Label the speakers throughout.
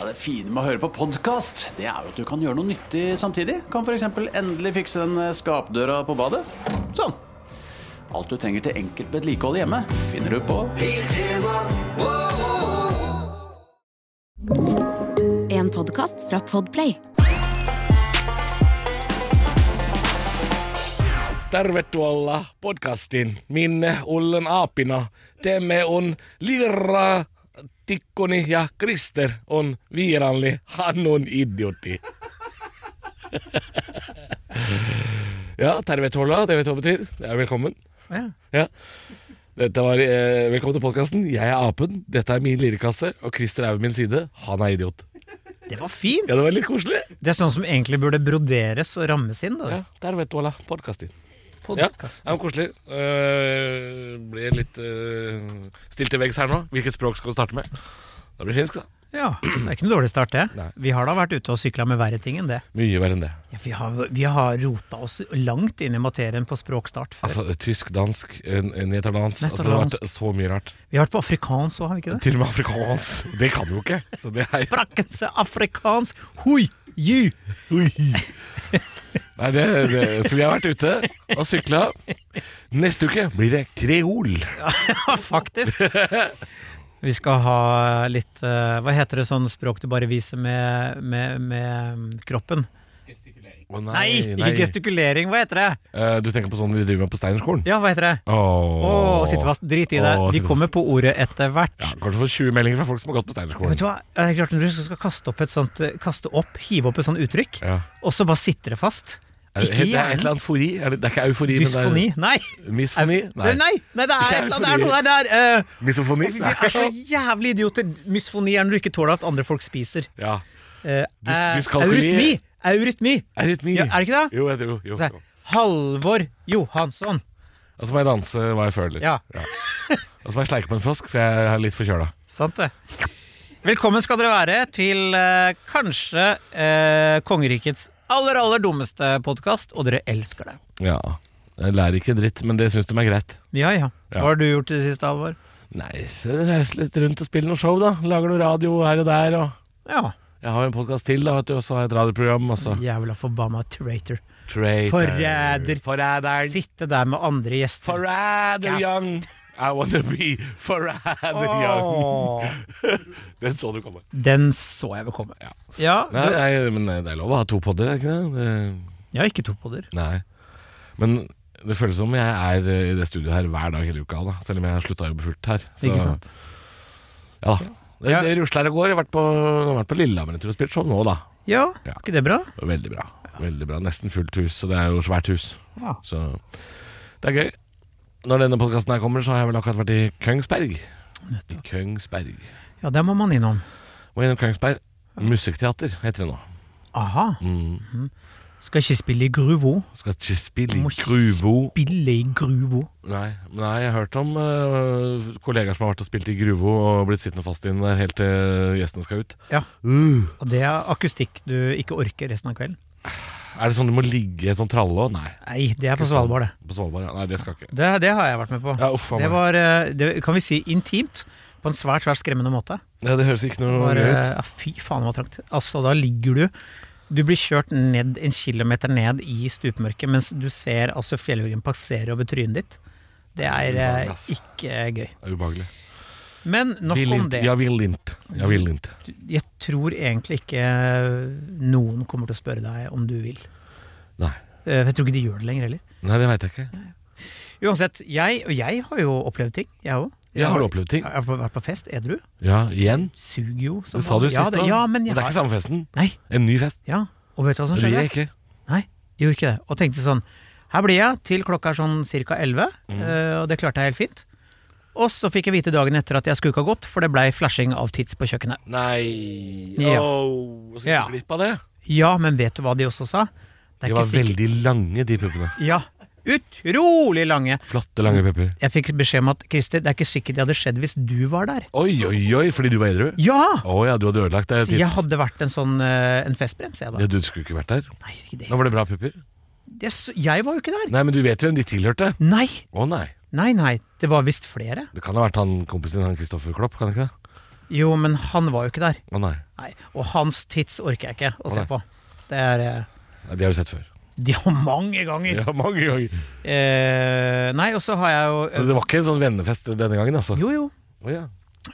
Speaker 1: Ja, det fine med å høre på podkast, det er jo at du kan gjøre noe nyttig samtidig. Kan f.eks. endelig fikse den eh, skapdøra på badet. Sånn. Alt du trenger til enkelt vedlikehold hjemme, finner du på
Speaker 2: En podcast fra Podplay
Speaker 3: Tervetuloa podcastin, minne ullen aapina. Teemme on Lirra, Tikkuni ja Krister on viiralli. Hän on idiotti. ja, tervetuloa, det vet hva det betyr. Det er velkommen.
Speaker 4: Ja.
Speaker 3: Ja. Dette var, eh, velkommen til podkasten. Jeg er apen, dette er min lirekasse, og Christer er ved min side. Han er idiot.
Speaker 4: Det var fint!
Speaker 3: Ja, det var litt koselig.
Speaker 4: Det er sånn som egentlig burde broderes og rammes inn. Da.
Speaker 3: Ja, tervetuloa podcastin. Ja, det
Speaker 4: Podcast.
Speaker 3: var koselig. Uh, blir litt eh, stilt til veggs her nå. Hvilket språk skal vi starte med? Da blir det finsk, da.
Speaker 4: Ja, det er ikke noe dårlig start, det.
Speaker 3: Nei.
Speaker 4: Vi har da vært ute og sykla med verre ting enn det.
Speaker 3: Mye verre enn det.
Speaker 4: Ja, vi, har, vi har rota oss langt inn i materien på språkstart før.
Speaker 3: Altså, tysk, dansk, eh, nederlandsk altså, Det har vært så mye rart.
Speaker 4: vi har vært på afrikansk òg, har vi ikke det?
Speaker 3: Til og med afrikansk. Det kan du jo ikke. Så det er
Speaker 4: Sprakkense afrikansk! Hui! Ju!
Speaker 3: Ui. Nei, det, det, Så vi har vært ute og sykla. Neste uke blir det kreol.
Speaker 4: Ja, faktisk! Vi skal ha litt eh, Hva heter det sånn språk du bare viser med, med, med mm, kroppen?
Speaker 3: Å,
Speaker 4: Nei, ikke gestikulering! Hva heter det?
Speaker 3: Eh, du tenker på sånn de driver med på Steinerskolen?
Speaker 4: Ja, hva heter det? Å, sitte fast. Drit i det.
Speaker 3: Åh,
Speaker 4: De
Speaker 3: sitte
Speaker 4: kommer på ordet etter hvert.
Speaker 3: Ja, Kanskje få 20 meldinger fra folk som har gått på Steinerskolen.
Speaker 4: Vet du hva, det er klart Når du skal kaste opp et sånt eh, Kaste opp, hive opp et sånt uttrykk,
Speaker 3: Ja.
Speaker 4: og så bare sitter det fast
Speaker 3: Er det-
Speaker 4: Ikke i
Speaker 3: Det er et eller
Speaker 4: hjernen.
Speaker 3: annet fori. Er det, det er ikke eufori. men det er-
Speaker 4: Dysfoni. Nei.
Speaker 3: Misfoni?
Speaker 4: Nei. nei! Nei, det er
Speaker 3: Ikke
Speaker 4: et eller annet det er
Speaker 3: eufori.
Speaker 4: noe der! der eh,
Speaker 3: Misofoni?
Speaker 4: vi er så jævlig idioter. Mysfoni er når du ikke tåler at andre folk spiser.
Speaker 3: Ja.
Speaker 4: Eh,
Speaker 3: Du-
Speaker 4: eh,
Speaker 3: dyskalkuli.
Speaker 4: eurytmi! Eurytmi!
Speaker 3: Eurytmi.
Speaker 4: Ja, er det ikke det?
Speaker 3: Jo, jeg tror jo.
Speaker 4: Så her, Halvor Johansson.
Speaker 3: Og så må jeg danse hva jeg føler.
Speaker 4: Ja.
Speaker 3: Og så må jeg sleike på en frosk, for jeg er litt forkjøla.
Speaker 4: Sant det. Velkommen skal dere være til eh, kanskje eh, kongerikets aller, aller dummeste podkast, og dere elsker det.
Speaker 3: Ja. Jeg lærer ikke dritt, men det syns de er greit.
Speaker 4: Ja, ja.
Speaker 3: Ja.
Speaker 4: Hva har du gjort i det siste, Alvor?
Speaker 3: Nei, så reise litt rundt og spille noe show, da. Lager noe radio her og der. Og
Speaker 4: Ja.
Speaker 3: jeg har jo en podkast til, da, vet du, og så har jeg et radioprogram. Og så
Speaker 4: Jævla forbanna traitor.
Speaker 3: Traitor.
Speaker 4: Forræder.
Speaker 3: Forræderen.
Speaker 4: Sitte der med andre gjester.
Speaker 3: Forræder young. I wanna be forræder young.
Speaker 4: Åh,
Speaker 3: Den så du komme.
Speaker 4: den så jeg vel komme.
Speaker 3: Ja.
Speaker 4: Ja,
Speaker 3: Nei,
Speaker 4: du,
Speaker 3: nei, men det er lov å ha to podder, er det ikke det? det?
Speaker 4: jeg har ikke to podder.
Speaker 3: Nei. Men det føles som jeg er eh, i det studioet her hver dag hele uka, da. selv om jeg har slutta å jobbe fullt her. Så-
Speaker 4: Ikke sant?
Speaker 3: Ja da. Det,
Speaker 4: Ja.
Speaker 3: det rusler og går. Jeg har vært på, jeg har vært på Lillehammer en tur og spilt show nå, da.
Speaker 4: Ja,
Speaker 3: Ja.
Speaker 4: er ikke det bra?
Speaker 3: Det var Veldig bra. Veldig bra. Nesten fullt hus, og det er jo svært hus.
Speaker 4: Ja.
Speaker 3: Så det er gøy. Når denne podkasten her kommer, så har jeg vel akkurat vært i Kongsberg. I Kongsberg.
Speaker 4: Ja, der må man innom.
Speaker 3: Og gjennom Kongsberg Musikkteater heter det nå.
Speaker 4: Aha.
Speaker 3: Mm.
Speaker 4: Skal ikke spille i Gruvo.
Speaker 3: Skal ikke spille
Speaker 4: Må
Speaker 3: i
Speaker 4: ikke
Speaker 3: Gruvo.
Speaker 4: Spille i Gruvo.
Speaker 3: Nei, nei, jeg har hørt om eh, kollegaer som har vært og spilt i Gruvo og blitt sittende fast inne der helt til gjestene skal ut. Uh.
Speaker 4: Ja. Og det er akustikk du ikke orker resten av kvelden.
Speaker 3: Er det sånn du må ligge i et sånt tralle òg? Nei.
Speaker 4: Nei, det er på
Speaker 3: Ikke sant.
Speaker 4: Svalbard, det.
Speaker 3: På Svalbard, ja. Nei, det skal ikke.
Speaker 4: det. Det har jeg vært med på.
Speaker 3: Ja, uff a
Speaker 4: det
Speaker 3: meg.
Speaker 4: var, eh, det, kan vi si, intimt. På en svært, svært skremmende måte.
Speaker 3: Ja, det høres ikke noe
Speaker 4: Bare,
Speaker 3: gøy ut.
Speaker 4: ja, fy faen, det var trangt. Altså, da ligger du Du blir kjørt ned en kilometer ned i stupmørket, mens du ser altså fjellveggen passere over trynet ditt. Det er
Speaker 3: Ubehagelig,
Speaker 4: eh,
Speaker 3: ass.
Speaker 4: ikke eh, gøy.
Speaker 3: Det er ubehagelig.
Speaker 4: Men nok
Speaker 3: Vil
Speaker 4: om
Speaker 3: inte.
Speaker 4: det.
Speaker 3: Jeg vil inte. Jeg vil inte.
Speaker 4: Jeg tror egentlig ikke eh, noen kommer til å spørre deg om du vil.
Speaker 3: Nei.
Speaker 4: Eh, Jeg tror ikke de gjør det lenger heller.
Speaker 3: Nei, det veit jeg ikke.
Speaker 4: Uansett, jeg, og jeg har jo opplevd ting, jeg òg.
Speaker 3: Jeg har opplevd ting.
Speaker 4: Jeg har vært på fest, edru.
Speaker 3: Ja, igjen.
Speaker 4: Suger jo. som
Speaker 3: Det sa du
Speaker 4: vanlig.
Speaker 3: sist
Speaker 4: ja, det-
Speaker 3: òg.
Speaker 4: Ja, men jeg
Speaker 3: det er ikke
Speaker 4: har
Speaker 3: samme festen.
Speaker 4: Nei,
Speaker 3: En ny fest.
Speaker 4: ja. Og vet du hva som
Speaker 3: Det vil
Speaker 4: skjedde?
Speaker 3: jeg ikke.
Speaker 4: Nei, jeg gjorde ikke det. Og tenkte sånn Her blir jeg til klokka er sånn ca. 11,
Speaker 3: Mhm.
Speaker 4: eh, og det klarte jeg helt fint. Og så fikk jeg vite dagen etter at jeg skulle ikke ha gått, for det blei flashing av tids på kjøkkenet.
Speaker 3: Nei
Speaker 4: Ja.
Speaker 3: Åh, så gikk
Speaker 4: Ja.
Speaker 3: du glipp av det.
Speaker 4: Ja, men vet du hva de også sa? Det er
Speaker 3: De
Speaker 4: ikke
Speaker 3: var
Speaker 4: sikkert.
Speaker 3: veldig lange, de puppene.
Speaker 4: Ja, utrolig lange.
Speaker 3: Flotte, lange pupper.
Speaker 4: Jeg fikk beskjed om at Christer, det er ikke sikkert det hadde skjedd hvis du var der.
Speaker 3: Oi, oi, oi, fordi du var edru?
Speaker 4: Ja!
Speaker 3: Å ja, du hadde ødelagt deg
Speaker 4: Så jeg hadde vært en sånn eh, en festbrems, jeg da.
Speaker 3: Ja, du skulle ikke vært der.
Speaker 4: Nei, ikke det.
Speaker 3: Da var det bra pupper.
Speaker 4: Jeg s- jeg var jo ikke der.
Speaker 3: Nei, men du vet jo hvem de tilhørte.
Speaker 4: Nei,
Speaker 3: Å nei.
Speaker 4: nei, nei. Det var visst flere.
Speaker 3: Det kan ha vært han kompisen din, han Kristoffer Klopp, kan det ikke det?
Speaker 4: Jo, men han var jo ikke der.
Speaker 3: Å nei.
Speaker 4: Nei. Og hans tits orker jeg ikke å se
Speaker 3: Å, nei.
Speaker 4: på. Det er eh,
Speaker 3: Nei, Det har du sett før.
Speaker 4: De har mange ganger!
Speaker 3: Ja, mange ganger.
Speaker 4: Eh, nei, og så har jeg jo
Speaker 3: Så det var ikke en sånn vennefest denne gangen, altså?
Speaker 4: Jo, jo.
Speaker 3: Å ja.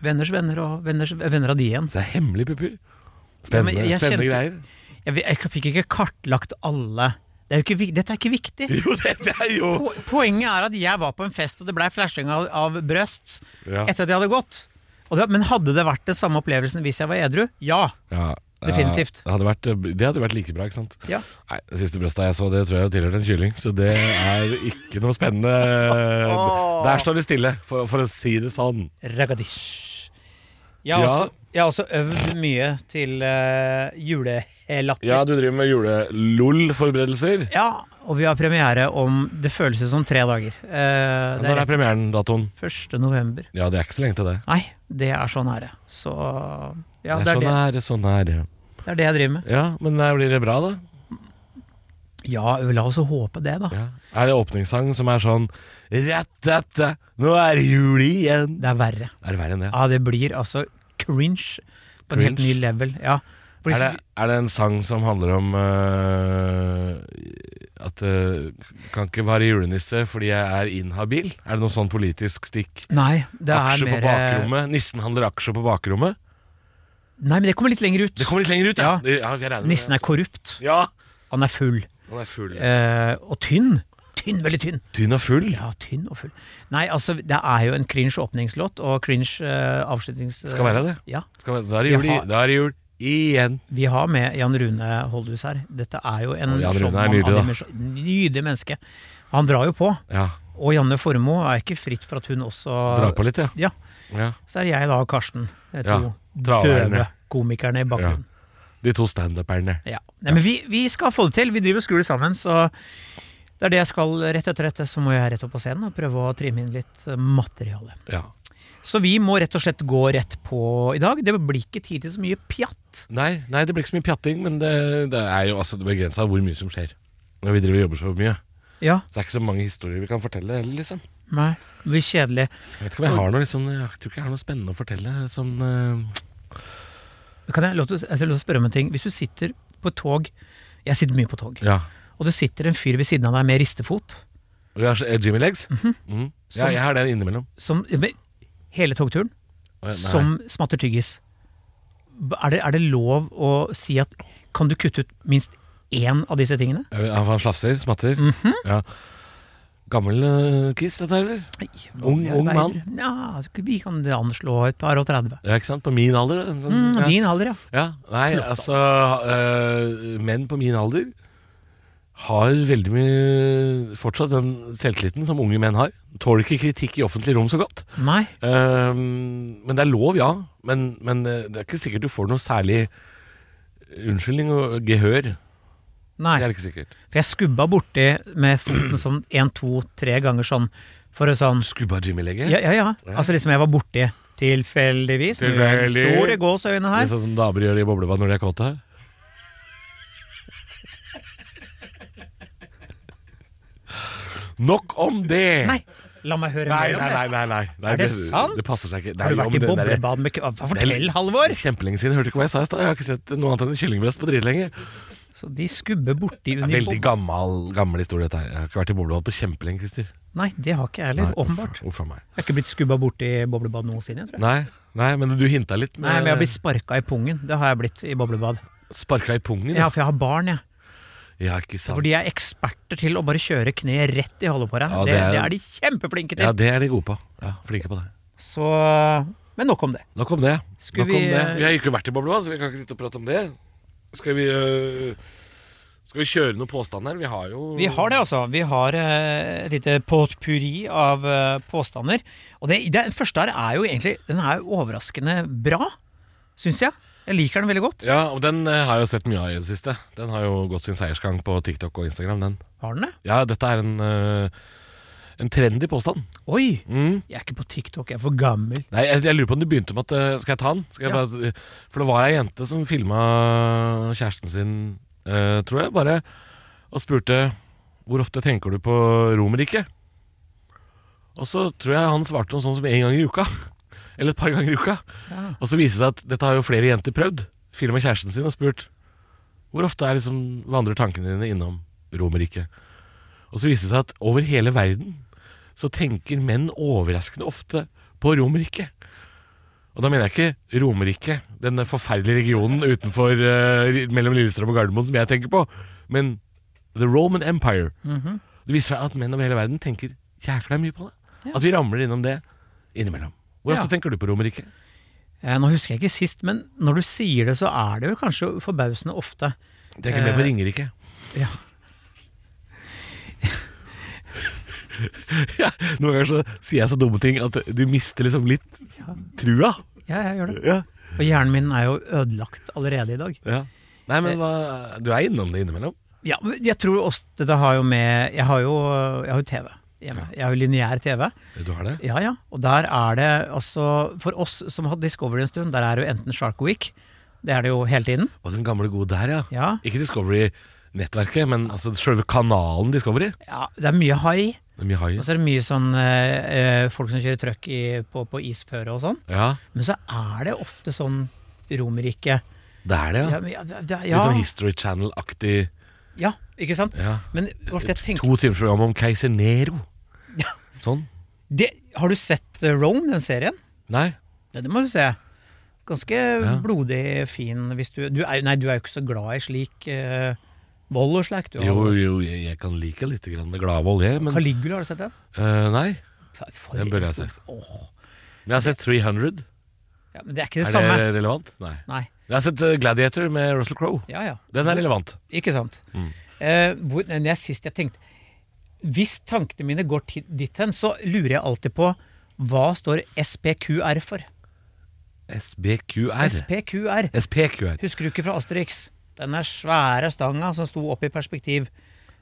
Speaker 4: Venners venner og venners venner av de igjen.
Speaker 3: Så det er hemmelige pupper.
Speaker 4: Ja,
Speaker 3: Spennende,
Speaker 4: men jeg- jeg
Speaker 3: spennende greier.
Speaker 4: kjente- Jeg, vi- jeg fikk ikke kartlagt alle. Det er jo ikke, vik- dette er ikke viktig.
Speaker 3: Jo, dette er jo
Speaker 4: Po- Poenget er at jeg var på en fest, og det blei flashing av, av brøst
Speaker 3: Ja.
Speaker 4: etter at jeg hadde gått. Og det, men hadde det vært den samme opplevelsen hvis jeg var edru? Ja.
Speaker 3: Ja,
Speaker 4: Definitivt.
Speaker 3: Ja, det, hadde vært, det hadde vært like bra, ikke sant?
Speaker 4: Ja.
Speaker 3: Nei, Det siste brøstet jeg så, det tror jeg tilhørte en kylling. Så det er ikke noe spennende. Der står det stille, for, for å si det sånn.
Speaker 4: Ragadish. Jeg har,
Speaker 3: Ja.
Speaker 4: Også, jeg har også øvd mye til uh, julelatter.
Speaker 3: Ja, du driver med julelol-forberedelser.
Speaker 4: Ja, og vi har premiere om Det føles jo som tre dager. Eh, det
Speaker 3: Når
Speaker 4: er
Speaker 3: er premieren, datoen?
Speaker 4: rett 1. november.
Speaker 3: Ja, det er ikke så lenge til det.
Speaker 4: Nei, det er så nære. Så Ja, det
Speaker 3: det er
Speaker 4: er
Speaker 3: så
Speaker 4: det,
Speaker 3: nære, så nære.
Speaker 4: det er det jeg driver med.
Speaker 3: Ja, men eh, blir det bra, da?
Speaker 4: Ja, la oss håpe det, da.
Speaker 3: Ja. Er det åpningssang som er sånn Rattata, nå er det jul igjen.
Speaker 4: Det er verre.
Speaker 3: Er det verre enn det?
Speaker 4: Ja, det blir altså cringe på en helt ny
Speaker 3: Cringe?
Speaker 4: level. Ja. For
Speaker 3: Er det,
Speaker 4: liksom-
Speaker 3: er det en sang som handler om øh, at øh, kan ikke være julenisse fordi jeg er inhabil? Er det noe sånn politisk stikk?
Speaker 4: Nei, det er
Speaker 3: Aksjer på
Speaker 4: mer eh,
Speaker 3: bakrommet? Nissen handler aksjer på bakrommet?
Speaker 4: Nei, men det kommer litt lenger ut.
Speaker 3: Det kommer litt lenger ut,
Speaker 4: Ja.
Speaker 3: Det- ja jeg regner med
Speaker 4: Nissen er
Speaker 3: det,
Speaker 4: korrupt.
Speaker 3: altså. Ja!
Speaker 4: Han er full.
Speaker 3: Han er full.
Speaker 4: Eh, og tynn. Tynn, veldig tynn.
Speaker 3: Tynn og full?
Speaker 4: Ja, tynn og full. Nei, altså, det er jo en cringe åpningslåt og cringe eh, avslutnings...
Speaker 3: Skal være det.
Speaker 4: Ja.
Speaker 3: Skal, være- da er det jul,
Speaker 4: Jeg
Speaker 3: i,
Speaker 4: har-
Speaker 3: da er det jul igjen.
Speaker 4: Vi har med Jan Rune Holdhus her. Dette er jo en
Speaker 3: Og Jan Rune er
Speaker 4: showman
Speaker 3: nydelig,
Speaker 4: av
Speaker 3: da.
Speaker 4: dimensjon- Nydelig menneske. Han drar jo på.
Speaker 3: Ja.
Speaker 4: Og Janne Formoe er ikke fritt for at hun også
Speaker 3: Dra på litt, ja.
Speaker 4: Ja.
Speaker 3: ja.
Speaker 4: Så er jeg da og Karsten. eh,
Speaker 3: Ja,
Speaker 4: To
Speaker 3: traverne.
Speaker 4: døve komikerne i bakgrunnen.
Speaker 3: De to standuperne.
Speaker 4: Ja. Nei, men vi, vi skal få det til. Vi driver og skrur det sammen, så det er det jeg skal rett etter dette. Så må jeg rett opp på scenen og prøve å trimme inn litt eh, materiale.
Speaker 3: Ja.
Speaker 4: Så vi må rett og slett gå rett på i dag. Det blir ikke tid til så mye pjatt.
Speaker 3: Nei, nei, det blir ikke så mye pjatting, men det, det er jo altså begrensa hvor mye som skjer. Når vi driver og jobber så mye.
Speaker 4: Ja,
Speaker 3: Så det er ikke så mange historier vi kan fortelle heller, liksom.
Speaker 4: nei, det blir kjedelig.
Speaker 3: Jeg vet ikke om jeg har noe liksom, Jeg tror ikke jeg har noe spennende å fortelle. Sånn eh,
Speaker 4: Kan jeg lov til, å- jeg har lov til å spørre om en ting? Hvis du sitter på et tog Jeg sitter mye på tog.
Speaker 3: Ja.
Speaker 4: Og det sitter en fyr ved siden av deg med ristefot.
Speaker 3: Vi har så- eh, Jimmy Legs. Mhm. Ja,
Speaker 4: Som-
Speaker 3: jeg har den innimellom.
Speaker 4: Som, men hele togturen.
Speaker 3: Å, ja, nei.
Speaker 4: som smatter tyggis. B- Er det, er det lov å si at kan du kutte ut minst én av disse tingene?
Speaker 3: Ja, Eh, Han slafser, smatter.
Speaker 4: Mhm.
Speaker 3: ja. Gammel eh, kiss, dette, eller?
Speaker 4: Nei,
Speaker 3: Ung- ung mann.
Speaker 4: Ja, vi kan anslå et par og 30.
Speaker 3: Ja, ikke sant? På min alder. det.
Speaker 4: Mm,
Speaker 3: ja.
Speaker 4: Din alder, ja.
Speaker 3: ja. Nei, altså eh, Menn på min alder har veldig mye Fortsatt den selvtilliten som unge menn har. Tåler ikke kritikk i offentlig rom så godt.
Speaker 4: Nei.
Speaker 3: Ehm, men det er lov, ja. Men, men eh, det er ikke sikkert du får noe særlig unnskyldning og gehør.
Speaker 4: Nei.
Speaker 3: Det er ikke sikkert.
Speaker 4: For jeg skubba borti med foten sånn én, to, tre ganger sånn for å sånn
Speaker 3: Skubba Jimmy-lege.
Speaker 4: Ja, ja, ja. Altså liksom jeg var borti tilfeldigvis. med
Speaker 3: Tilfeldig.
Speaker 4: Store gåseøyne
Speaker 3: Det
Speaker 4: her.
Speaker 3: er sånn som damer gjør i boblebad når de er kåte. Nok om det!
Speaker 4: Nei, la meg høre
Speaker 3: nei,
Speaker 4: mer om
Speaker 3: nei,
Speaker 4: det.
Speaker 3: nei, nei, nei. Nei,
Speaker 4: Er det sant?
Speaker 3: Det passer seg ikke. Nei,
Speaker 4: Har du
Speaker 3: jo,
Speaker 4: vært
Speaker 3: men
Speaker 4: i
Speaker 3: den derre-
Speaker 4: boblebad med k- Fortell, Halvor!
Speaker 3: Kjempelenge siden. Hørte du ikke hva jeg sa i stad? Jeg har ikke sett noe annet enn en kyllingbrøst på dritlenge.
Speaker 4: Så de skubber borti
Speaker 3: Det er Veldig
Speaker 4: unibob.
Speaker 3: gammel, gammel historie dette her. Jeg har ikke vært i boblebad på kjempelenge, Christer.
Speaker 4: Nei, det har ikke jeg heller.
Speaker 3: Nei, uff,
Speaker 4: Åpenbart.
Speaker 3: Uff a meg.
Speaker 4: Jeg har ikke blitt skubba borti boblebad noensinne, tror jeg.
Speaker 3: Nei, nei, men du hinta litt.
Speaker 4: Nei, men jeg har blitt sparka i pungen. Det har jeg blitt i boblebad.
Speaker 3: sparka i pungen.
Speaker 4: Ja, for jeg har barn, jeg.
Speaker 3: ja ikke sant.
Speaker 4: For de er eksperter til å bare kjøre kneet rett i holdeparet.
Speaker 3: Ja,
Speaker 4: det,
Speaker 3: det
Speaker 4: det,
Speaker 3: er-
Speaker 4: er de kjempeflinke til.
Speaker 3: Ja, det er de gode på. Ja, Flinke på det.
Speaker 4: Så Men nok om det.
Speaker 3: Nok om det.
Speaker 4: Skulle
Speaker 3: Nok om
Speaker 4: vi,
Speaker 3: det.
Speaker 4: eh,
Speaker 3: Vi har jo ikke vært i boblebad, så vi kan ikke sitte og prate om det. Skal vi øh, Skal vi kjøre noen påstander? Vi har jo
Speaker 4: Vi har det, altså. Vi har eh, et lite potpurri av eh, påstander. Og det, det første her er jo egentlig Den er jo overraskende bra, syns jeg. Jeg liker den veldig godt.
Speaker 3: Ja, og den eh, har jeg jo sett mye av i det siste. Den har jo gått sin seiersgang på TikTok og Instagram, den.
Speaker 4: Har den det?
Speaker 3: Ja, dette er en eh, En trendy påstand.
Speaker 4: Oi!
Speaker 3: Mm.
Speaker 4: Jeg er ikke på TikTok, jeg er for gammel.
Speaker 3: Nei, jeg, jeg lurer på om det begynte med at eh, Skal jeg ta den? Skal jeg
Speaker 4: Ja.
Speaker 3: bare, for det var ei jente som filma kjæresten sin, eh, tror jeg, bare, og spurte hvor ofte tenker du på Romerriket? Og så tror jeg han svarte noe sånn som en gang i uka. Eller et par ganger i uka.
Speaker 4: Ja.
Speaker 3: Og så viser det seg at dette har jo flere jenter prøvd. Filma kjæresten sin og spurt hvor ofte er liksom vandrer tankene dine innom Romerriket. Og så viser det seg at over hele verden så tenker menn overraskende ofte på Romerriket. Og da mener jeg ikke Romerike, den forferdelige regionen utenfor, eh, mellom Lillestrøm og Gardermoen som jeg tenker på, men The Roman Empire. Det viser seg at menn over hele verden tenker jækla mye på det. At vi ramler innom det innimellom. Hvor ofte
Speaker 4: Ja.
Speaker 3: tenker du på Romerike?
Speaker 4: Eh, Nå husker jeg ikke sist, men når du sier det, så er det jo kanskje forbausende ofte.
Speaker 3: Tenker mer på Ringerike.
Speaker 4: Eh, Ja.
Speaker 3: ja, noen ganger så sier jeg så dumme ting at du mister liksom litt trua.
Speaker 4: Ja, jeg gjør det.
Speaker 3: Ja.
Speaker 4: Og hjernen min er jo ødelagt allerede i dag.
Speaker 3: ja. Nei, men hva, du er innom det innimellom.
Speaker 4: Ja, men jeg tror også det har jo med Jeg har jo, jeg har jo TV hjemme. Jeg har jo lineær TV.
Speaker 3: Du har det?
Speaker 4: Ja, ja. Og der er det altså For oss som hadde Discovery en stund, der er det jo enten Shark Week, det er det jo hele tiden.
Speaker 3: Og den gamle gode der, ja.
Speaker 4: Ja.
Speaker 3: Ikke Discovery-nettverket, men altså selve kanalen Discovery.
Speaker 4: ja det er mye hai,
Speaker 3: Det er mye hai.
Speaker 4: og så er det mye sånn eh, eh, folk som kjører trøkk i, på, på isføre og sånn.
Speaker 3: Ja,
Speaker 4: Men så er det ofte sånn Romerike
Speaker 3: det er det, ja.
Speaker 4: ja, men ja, det- det-
Speaker 3: Litt sånn
Speaker 4: ja,
Speaker 3: History Channel-aktig.
Speaker 4: ja, ikke sant?
Speaker 3: Ja.
Speaker 4: Men Rolf, jeg tenker
Speaker 3: To timers program om keiser Nero.
Speaker 4: Ja.
Speaker 3: Sånn.
Speaker 4: det, Har du sett eh, Rome, den serien?
Speaker 3: Nei.
Speaker 4: Det, det må du se. Ganske blodig fin hvis du, du er, Nei, du er jo ikke så glad i slik eh, vold og slikt. du,
Speaker 3: Jo,
Speaker 4: Harald.
Speaker 3: jo, jeg, jeg kan like litt grann det glade vold, jeg, men
Speaker 4: Caligula, har du sett den?
Speaker 3: eh, Nei.
Speaker 4: For- for
Speaker 3: Den
Speaker 4: en
Speaker 3: bør jeg
Speaker 4: stor-
Speaker 3: se.
Speaker 4: Åh.
Speaker 3: Men jeg har sett 300.
Speaker 4: Ja, men det er ikke det,
Speaker 3: er
Speaker 4: samme.
Speaker 3: det relevant? Nei.
Speaker 4: Nei.
Speaker 3: Jeg har sett eh, Gladiator med Russell Crowe.
Speaker 4: Ja, ja.
Speaker 3: Den er relevant.
Speaker 4: Ikke sant.
Speaker 3: Mm.
Speaker 4: Eh, hvor, men jeg, sist jeg tenkte Hvis tankene mine går ti- dit hen, så lurer jeg alltid på hva står SPQR for?
Speaker 3: SBQR.
Speaker 4: SPQR.
Speaker 3: SPQR.
Speaker 4: Husker du ikke fra Asterix? Den er svære stanga som sto opp i perspektiv.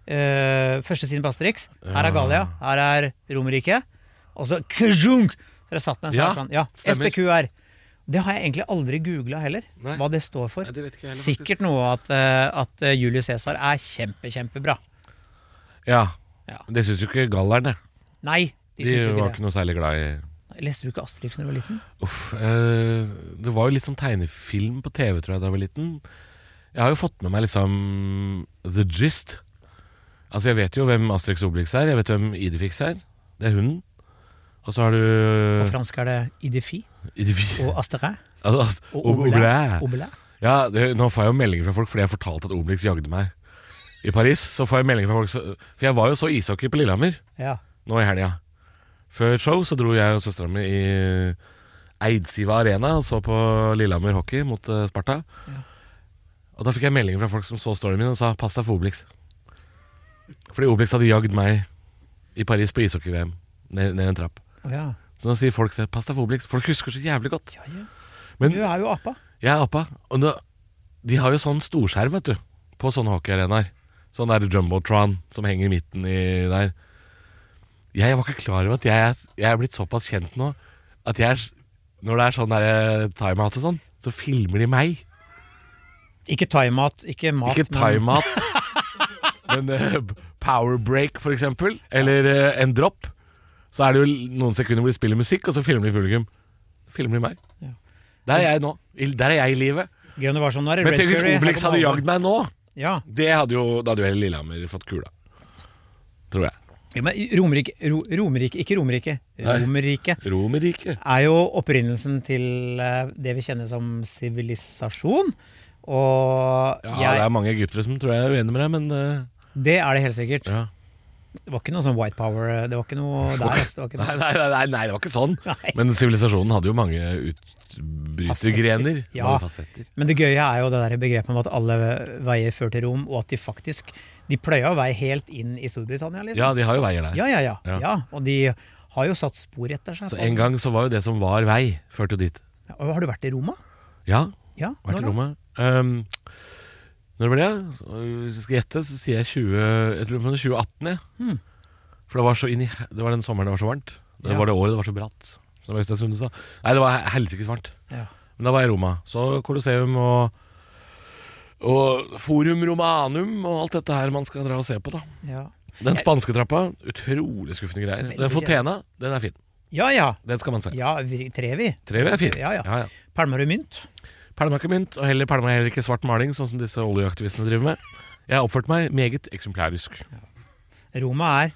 Speaker 4: Eh, første siden på Asterix. Her er Gallia, her er Romerike. Og så kjunk! Så der satt den en svær
Speaker 3: Ja,
Speaker 4: sånn. Ja,
Speaker 3: stemmer.
Speaker 4: SPQR. Det har jeg egentlig aldri googla heller,
Speaker 3: Nei.
Speaker 4: hva det står for.
Speaker 3: det vet ikke
Speaker 4: Sikkert noe at, eh, at eh, Julius Cæsar er kjempe, kjempebra.
Speaker 3: Ja.
Speaker 4: Ja.
Speaker 3: Det syns jo ikke gallerne.
Speaker 4: Nei, de,
Speaker 3: De
Speaker 4: syns jo
Speaker 3: var
Speaker 4: ikke
Speaker 3: ikke noe særlig glad i
Speaker 4: det. Leste du ikke Asterix da du var liten?
Speaker 3: Uff, eh, det var jo litt sånn tegnefilm på TV, tror jeg, da jeg var liten. Jeg har jo fått med meg liksom the gist. Altså, jeg vet jo hvem Asterix Obelix er. Jeg vet hvem Idefix er. Det er hunden. Og så har
Speaker 4: På
Speaker 3: du
Speaker 4: fransk er det Idifi
Speaker 3: Idefix
Speaker 4: og Asterix
Speaker 3: Altså, Ast-
Speaker 4: og
Speaker 3: Obelix.
Speaker 4: Obelin. Obelin.
Speaker 3: Ja, det, nå får jeg jo meldinger fra folk fordi jeg fortalte at Obelix jagde meg i Paris. Så får jeg meldinger fra folk så, For jeg var jo så ishockey på Lillehammer
Speaker 4: Ja.
Speaker 3: nå i helga. Før show så dro jeg og søstera mi i Eidsiva Arena og så på Lillehammer hockey mot eh, Sparta. Og da fikk jeg meldinger fra folk som så storyen min og sa 'pass deg for Obelix'. Fordi Obelix hadde jagd meg i Paris på ishockey-VM ned, ned en trapp.
Speaker 4: Å ja.
Speaker 3: Så nå sier folk 'pass deg for Obelix'. Folk husker så jævlig godt.
Speaker 4: Ja, ja.
Speaker 3: Men
Speaker 4: Du er jo apa.
Speaker 3: jeg er apa, og nå, de har jo sånn storskjerm, vet du, på sånne hockeyarenaer. Sånn der jumbotron som henger i midten i der. Jeg var ikke klar over at jeg, er- jeg er blitt såpass kjent nå at jeg, er- når det er sånn der timeout og sånn, så filmer de meg.
Speaker 4: Ikke thaimat, ikke mat.
Speaker 3: Ikke
Speaker 4: men-
Speaker 3: timeout, men eh, power break for eksempel, eller eh, en drop. Så er det jo noen sekunder hvor de spiller musikk, og så filmer de publikum. Så filmer de meg.
Speaker 4: Ja.
Speaker 3: Der er jeg nå. I- Der er jeg i livet.
Speaker 4: Gøy om det var sånn nå er det
Speaker 3: Men
Speaker 4: Red
Speaker 3: tenk hvis
Speaker 4: Curry, her
Speaker 3: Obelix
Speaker 4: kommer
Speaker 3: hadde
Speaker 4: Halvor.
Speaker 3: jagd meg nå.
Speaker 4: Ja.
Speaker 3: Det hadde jo, da hadde jo hele Lillehammer fått kula. Tror jeg.
Speaker 4: ja, men Romerike, ro, Romerike Ikke Romerike.
Speaker 3: Nei.
Speaker 4: Romerike
Speaker 3: Romerriket.
Speaker 4: er jo opprinnelsen til eh, det vi kjenner som sivilisasjon. Og
Speaker 3: Ja, det
Speaker 4: jeg,
Speaker 3: er mange egyptere som tror jeg er uenig med deg, men eh,
Speaker 4: det er det helt sikkert.
Speaker 3: ja.
Speaker 4: Det var ikke noe sånn white power. Det var ikke noe der. ass. Det var ikke
Speaker 3: nei,
Speaker 4: noe.
Speaker 3: nei, nei, nei, nei, det var ikke sånn.
Speaker 4: Nei.
Speaker 3: Men sivilisasjonen hadde jo mange utbrytergrener.
Speaker 4: Fasetter. Ja.
Speaker 3: Mange fasetter.
Speaker 4: Men det gøye er jo det der begrepet om at alle veier fører til Rom, og at de faktisk De pløya vei helt inn i Storbritannia, liksom.
Speaker 3: Ja, de har jo veier der.
Speaker 4: Ja, ja, ja.
Speaker 3: Ja.
Speaker 4: ja. Og de har jo satt spor etter seg.
Speaker 3: Så
Speaker 4: på-
Speaker 3: en gang så var jo det som var vei, førte jo dit.
Speaker 4: Ja, og Har du vært i Roma?
Speaker 3: Ja,
Speaker 4: Ja,
Speaker 3: vært
Speaker 4: når
Speaker 3: i
Speaker 4: da?
Speaker 3: rommet. Um, når det ble det? Så, hvis jeg skal gjette, så sier jeg 20, jeg tror det var 2018. Jeg. For det var så inn i, det var den sommeren det var så varmt. Det
Speaker 4: Hmm. Ja.
Speaker 3: var det året det var så bratt. Som Øystein Sunde sa. Nei, det var helsikes varmt.
Speaker 4: Ja.
Speaker 3: Men da var jeg i Roma. Så Colosseum og og Forum Romanum og alt dette her man skal dra og se på, da.
Speaker 4: ja.
Speaker 3: Den spanske trappa, utrolig skuffende greier.
Speaker 4: Veldig
Speaker 3: Den Fontena, den er fin.
Speaker 4: Ja ja.
Speaker 3: Den skal man se.
Speaker 4: Ja, vi- Trevi.
Speaker 3: Trevi er fin.
Speaker 4: Ja, ja.
Speaker 3: Ja, ja.
Speaker 4: Palmer og mynt.
Speaker 3: Pælma er ikke mynt, og heller pælma er heller ikke svart maling, sånn som disse oljeaktivistene driver med. Jeg har oppført meg meget eksemplarisk.
Speaker 4: Roma er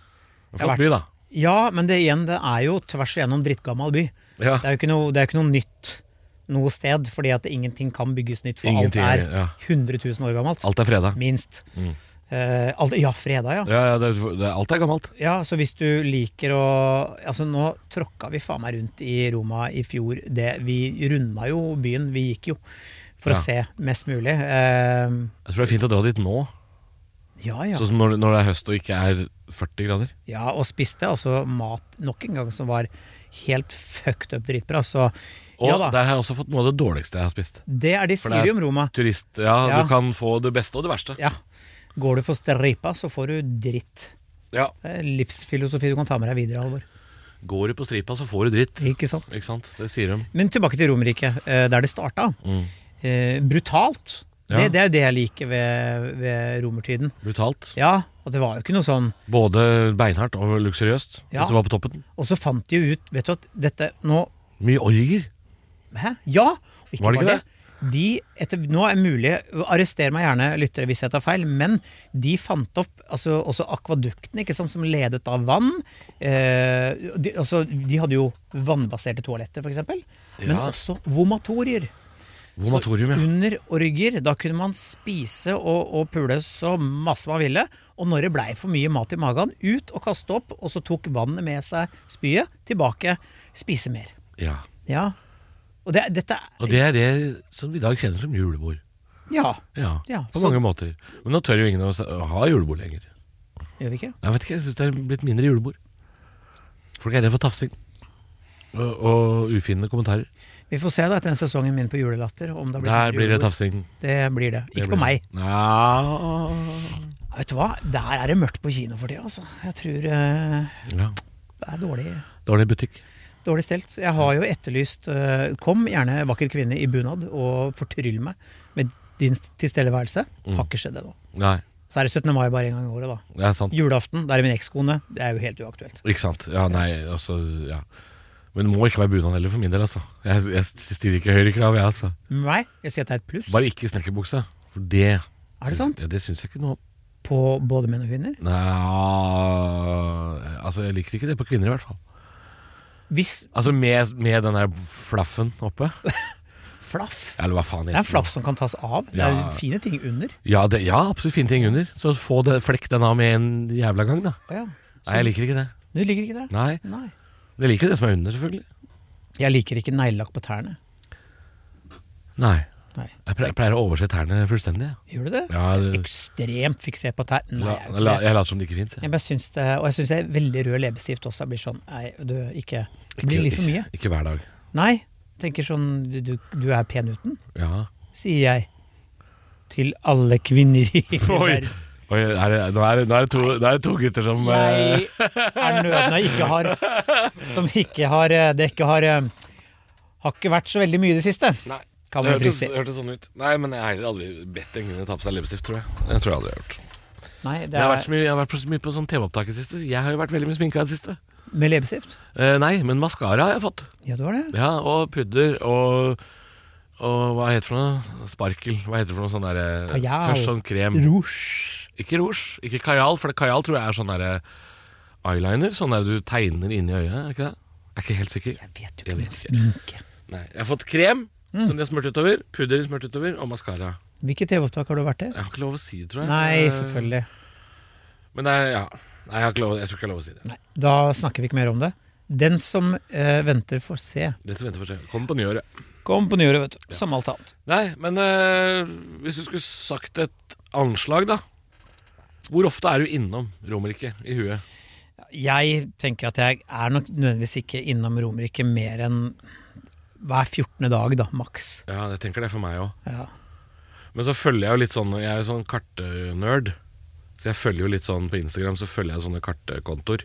Speaker 3: En Flott by, da.
Speaker 4: Ja, men det igjen, det er jo tvers igjennom drittgammal by.
Speaker 3: Ja.
Speaker 4: Det er jo ikke noe, det er ikke noe nytt noe sted, fordi at ingenting kan bygges nytt, for
Speaker 3: Ingenting,
Speaker 4: alt er
Speaker 3: ja.
Speaker 4: 100 000 år gammelt.
Speaker 3: Alt er freda.
Speaker 4: Minst.
Speaker 3: Mm.
Speaker 4: Eh, alt, ja, fredag, ja.
Speaker 3: Ja, ja, det, er- det, er- alt er gammelt.
Speaker 4: Ja, så hvis du liker å Altså, nå tråkka vi faen meg rundt i Roma i fjor. Det, vi runda jo byen, vi gikk jo for
Speaker 3: Ja.
Speaker 4: å se mest mulig. Eh,
Speaker 3: Jeg tror det er fint å dra dit nå,
Speaker 4: ja, ja.
Speaker 3: sånn som når, når det er høst og ikke er 40 grader.
Speaker 4: Ja, og spiste altså mat nok en gang som var helt fucked up dritbra. Så
Speaker 3: Og
Speaker 4: ja da,
Speaker 3: der har jeg også fått noe av det dårligste jeg har spist.
Speaker 4: det er de
Speaker 3: det er-
Speaker 4: sier jo om Roma.
Speaker 3: Turist, ja,
Speaker 4: Ja.
Speaker 3: du kan få det beste og det verste.
Speaker 4: Ja. Går du på stripa, så får du dritt.
Speaker 3: Ja.
Speaker 4: Det er livsfilosofi du kan ta med deg videre, Alvor.
Speaker 3: Går du på stripa, så får du dritt.
Speaker 4: Ikke sant?
Speaker 3: Ikke sant? Det sier de.
Speaker 4: Men tilbake til Romerike, eh, der det starta. Eh, brutalt.
Speaker 3: Mm. Ja.
Speaker 4: Det, det er jo det jeg liker ved, ved romertiden.
Speaker 3: Brutalt.
Speaker 4: Ja, og det var jo ikke noe sånn
Speaker 3: Både beinhardt og luksuriøst.
Speaker 4: Ja.
Speaker 3: Hvis du var på toppen.
Speaker 4: Og så fant de jo ut, vet du at dette nå
Speaker 3: Mye orger.
Speaker 4: Hæ? Ja! Og Ikke
Speaker 3: Var det
Speaker 4: bare
Speaker 3: ikke
Speaker 4: det. De, etter, nå er det mulig, arrester meg gjerne lyttere hvis jeg tar feil, men de fant opp altså, også akvaduktene ikke sant, som ledet av vann. Eh, de, altså, de hadde jo vannbaserte toaletter, f.eks., men
Speaker 3: Ja.
Speaker 4: også vomatorier.
Speaker 3: Vomatorium,
Speaker 4: så
Speaker 3: ja.
Speaker 4: under orger, da kunne man spise og, og pule så masse man ville. Og når det blei for mye mat i magen, ut og kaste opp, og så tok vannet med seg spyet tilbake, spise mer.
Speaker 3: ja.
Speaker 4: Ja. Og det, dette
Speaker 3: Og det er det som vi i dag kjenner som julebord.
Speaker 4: Ja,
Speaker 3: Ja,
Speaker 4: Ja,
Speaker 3: på
Speaker 4: så-
Speaker 3: mange måter. Men nå tør jo ingen å se- å ha julebord lenger.
Speaker 4: gjør vi ikke?
Speaker 3: Jeg vet ikke, jeg syns det er blitt mindre julebord. Folk er redd for tafsing. Og, og ufinne kommentarer.
Speaker 4: Vi får se da etter den sesongen min på julelatter om det blir
Speaker 3: Der blir det
Speaker 4: julebord.
Speaker 3: tafsing.
Speaker 4: Det blir det. Ikke
Speaker 3: Det
Speaker 4: på
Speaker 3: blir-
Speaker 4: meg.
Speaker 3: Nja.
Speaker 4: Vet du hva, der er det mørkt på kino for tida, altså. Jeg tror eh,
Speaker 3: Ja.
Speaker 4: det er dårlig,
Speaker 3: Dårlig butikk.
Speaker 4: dårlig stelt. Jeg har jo etterlyst eh, Kom gjerne, vakker kvinne i bunad, og fortryll meg med din tilstedeværelse.
Speaker 3: Mm.
Speaker 4: Har ikke skjedd ennå.
Speaker 3: Nei,
Speaker 4: Så er det 17. mai bare en gang i året, da.
Speaker 3: det er sant.
Speaker 4: Julaften, der er min ekskone. Det er jo helt uaktuelt.
Speaker 3: Ikke sant. Ja, nei, altså ja. Men det må ikke være bunad heller, for min del, altså. Jeg, jeg stiller ikke høyere krav, jeg, altså.
Speaker 4: Nei, jeg sier at det er et pluss
Speaker 3: Bare ikke snekkerbukse. For det
Speaker 4: Er det sant?
Speaker 3: Ja, det syns jeg ikke noe om.
Speaker 4: på både menn og kvinner.
Speaker 3: Nei, altså, jeg liker ikke det på kvinner, i hvert fall.
Speaker 4: Hvis
Speaker 3: Altså med, med den der flaffen oppe.
Speaker 4: flaff
Speaker 3: Eller hva faen
Speaker 4: Det er en flaff som kan tas av. Det er
Speaker 3: Ja.
Speaker 4: fine ting under.
Speaker 3: Ja, det, ja, absolutt fine ting under. Så få det, flekk den av med en jævla gang, da.
Speaker 4: Å ja.
Speaker 3: Nei, jeg liker ikke det.
Speaker 4: Du liker ikke det?
Speaker 3: Nei,
Speaker 4: Nei.
Speaker 3: Jeg liker det som er under, selvfølgelig.
Speaker 4: Jeg liker ikke neglelakk på tærne.
Speaker 3: Nei.
Speaker 4: Nei.
Speaker 3: Jeg pleier, jeg pleier å overse tærne fullstendig. jeg.
Speaker 4: Gjør du det?
Speaker 3: Ja, det,
Speaker 4: Ekstremt fiksert på tær. Nei,
Speaker 3: la,
Speaker 4: jeg er jo
Speaker 3: la,
Speaker 4: ikke det.
Speaker 3: jeg later som det ikke fins.
Speaker 4: Jeg bare syns det, og jeg syns jeg er veldig rød leppestift også. Jeg blir sånn Nei, du, ikke Det blir litt for mye.
Speaker 3: Ikke, ikke hver dag.
Speaker 4: Nei. Tenker sånn du, du, du er pen uten,
Speaker 3: Ja.
Speaker 4: sier jeg. Til alle kvinner i
Speaker 3: Oi!
Speaker 4: verden.
Speaker 3: Oi er det, nå, er det, nå, er det to, nå er det to gutter som
Speaker 4: Jeg
Speaker 3: eh,
Speaker 4: er nøden jeg ikke har Som ikke har eh, Det ikke har eh, Har ikke vært så veldig mye i det siste.
Speaker 3: Nei.
Speaker 4: Kan
Speaker 3: det
Speaker 4: man trygt
Speaker 3: hørtes,
Speaker 4: si.
Speaker 3: hørtes sånn ut. Nei, men jeg har heller aldri bedt en kvinne ta på seg leppestift, tror jeg. Det tror jeg aldri jeg har gjort.
Speaker 4: Nei, det
Speaker 3: Jeg har
Speaker 4: er
Speaker 3: vært, så mye, jeg har vært på så mye på sånn TV-opptak i det siste. så Jeg har jo vært veldig mye sminka i det siste.
Speaker 4: Med leppestift?
Speaker 3: Eh, nei, men maskara har jeg fått.
Speaker 4: Ja, du har det.
Speaker 3: Ja, Og pudder og og hva heter det for noe? Sparkel. Hva heter det for noe sånn derre
Speaker 4: Kajal.
Speaker 3: Først sånn krem.
Speaker 4: Rouge.
Speaker 3: Ikke rouge, ikke kajal, for det- kajal tror jeg er sånn derre eyeliner. Sånn der du tegner inni øyet, er det ikke det? Jeg er ikke helt sikker.
Speaker 4: Jeg vet jo
Speaker 3: Jeg
Speaker 4: ikke
Speaker 3: vet
Speaker 4: om sminke.
Speaker 3: Nei, Jeg har fått krem som de har smurt utover, pudder smurt utover, og maskara.
Speaker 4: Hvilket TV-opptak har du vært til?
Speaker 3: Jeg har ikke lov å si det, tror jeg.
Speaker 4: Nei,
Speaker 3: Eh,
Speaker 4: selvfølgelig.
Speaker 3: Men det er, ja. Nei, jeg, har ikke lov, jeg tror ikke jeg har lov å si det.
Speaker 4: Nei, da snakker vi ikke mer om det. Den som eh, venter, får se.
Speaker 3: Det som venter for seg. Kom på nyåret.
Speaker 4: Kom på nyåret, vet du. Som alt annet.
Speaker 3: Nei, men eh, hvis du skulle sagt et anslag, da. Hvor ofte er du innom Romerike i huet?
Speaker 4: Jeg tenker at jeg er nok nødvendigvis ikke innom Romerike mer enn hver 14. dag, da, maks.
Speaker 3: Ja, jeg tenker det for meg òg.
Speaker 4: Ja.
Speaker 3: Men så følger jeg jo litt sånn Jeg er jo sånn kartnerd. Så jeg følger jo litt sånn på Instagram Så følger jeg sånne kartkontoer.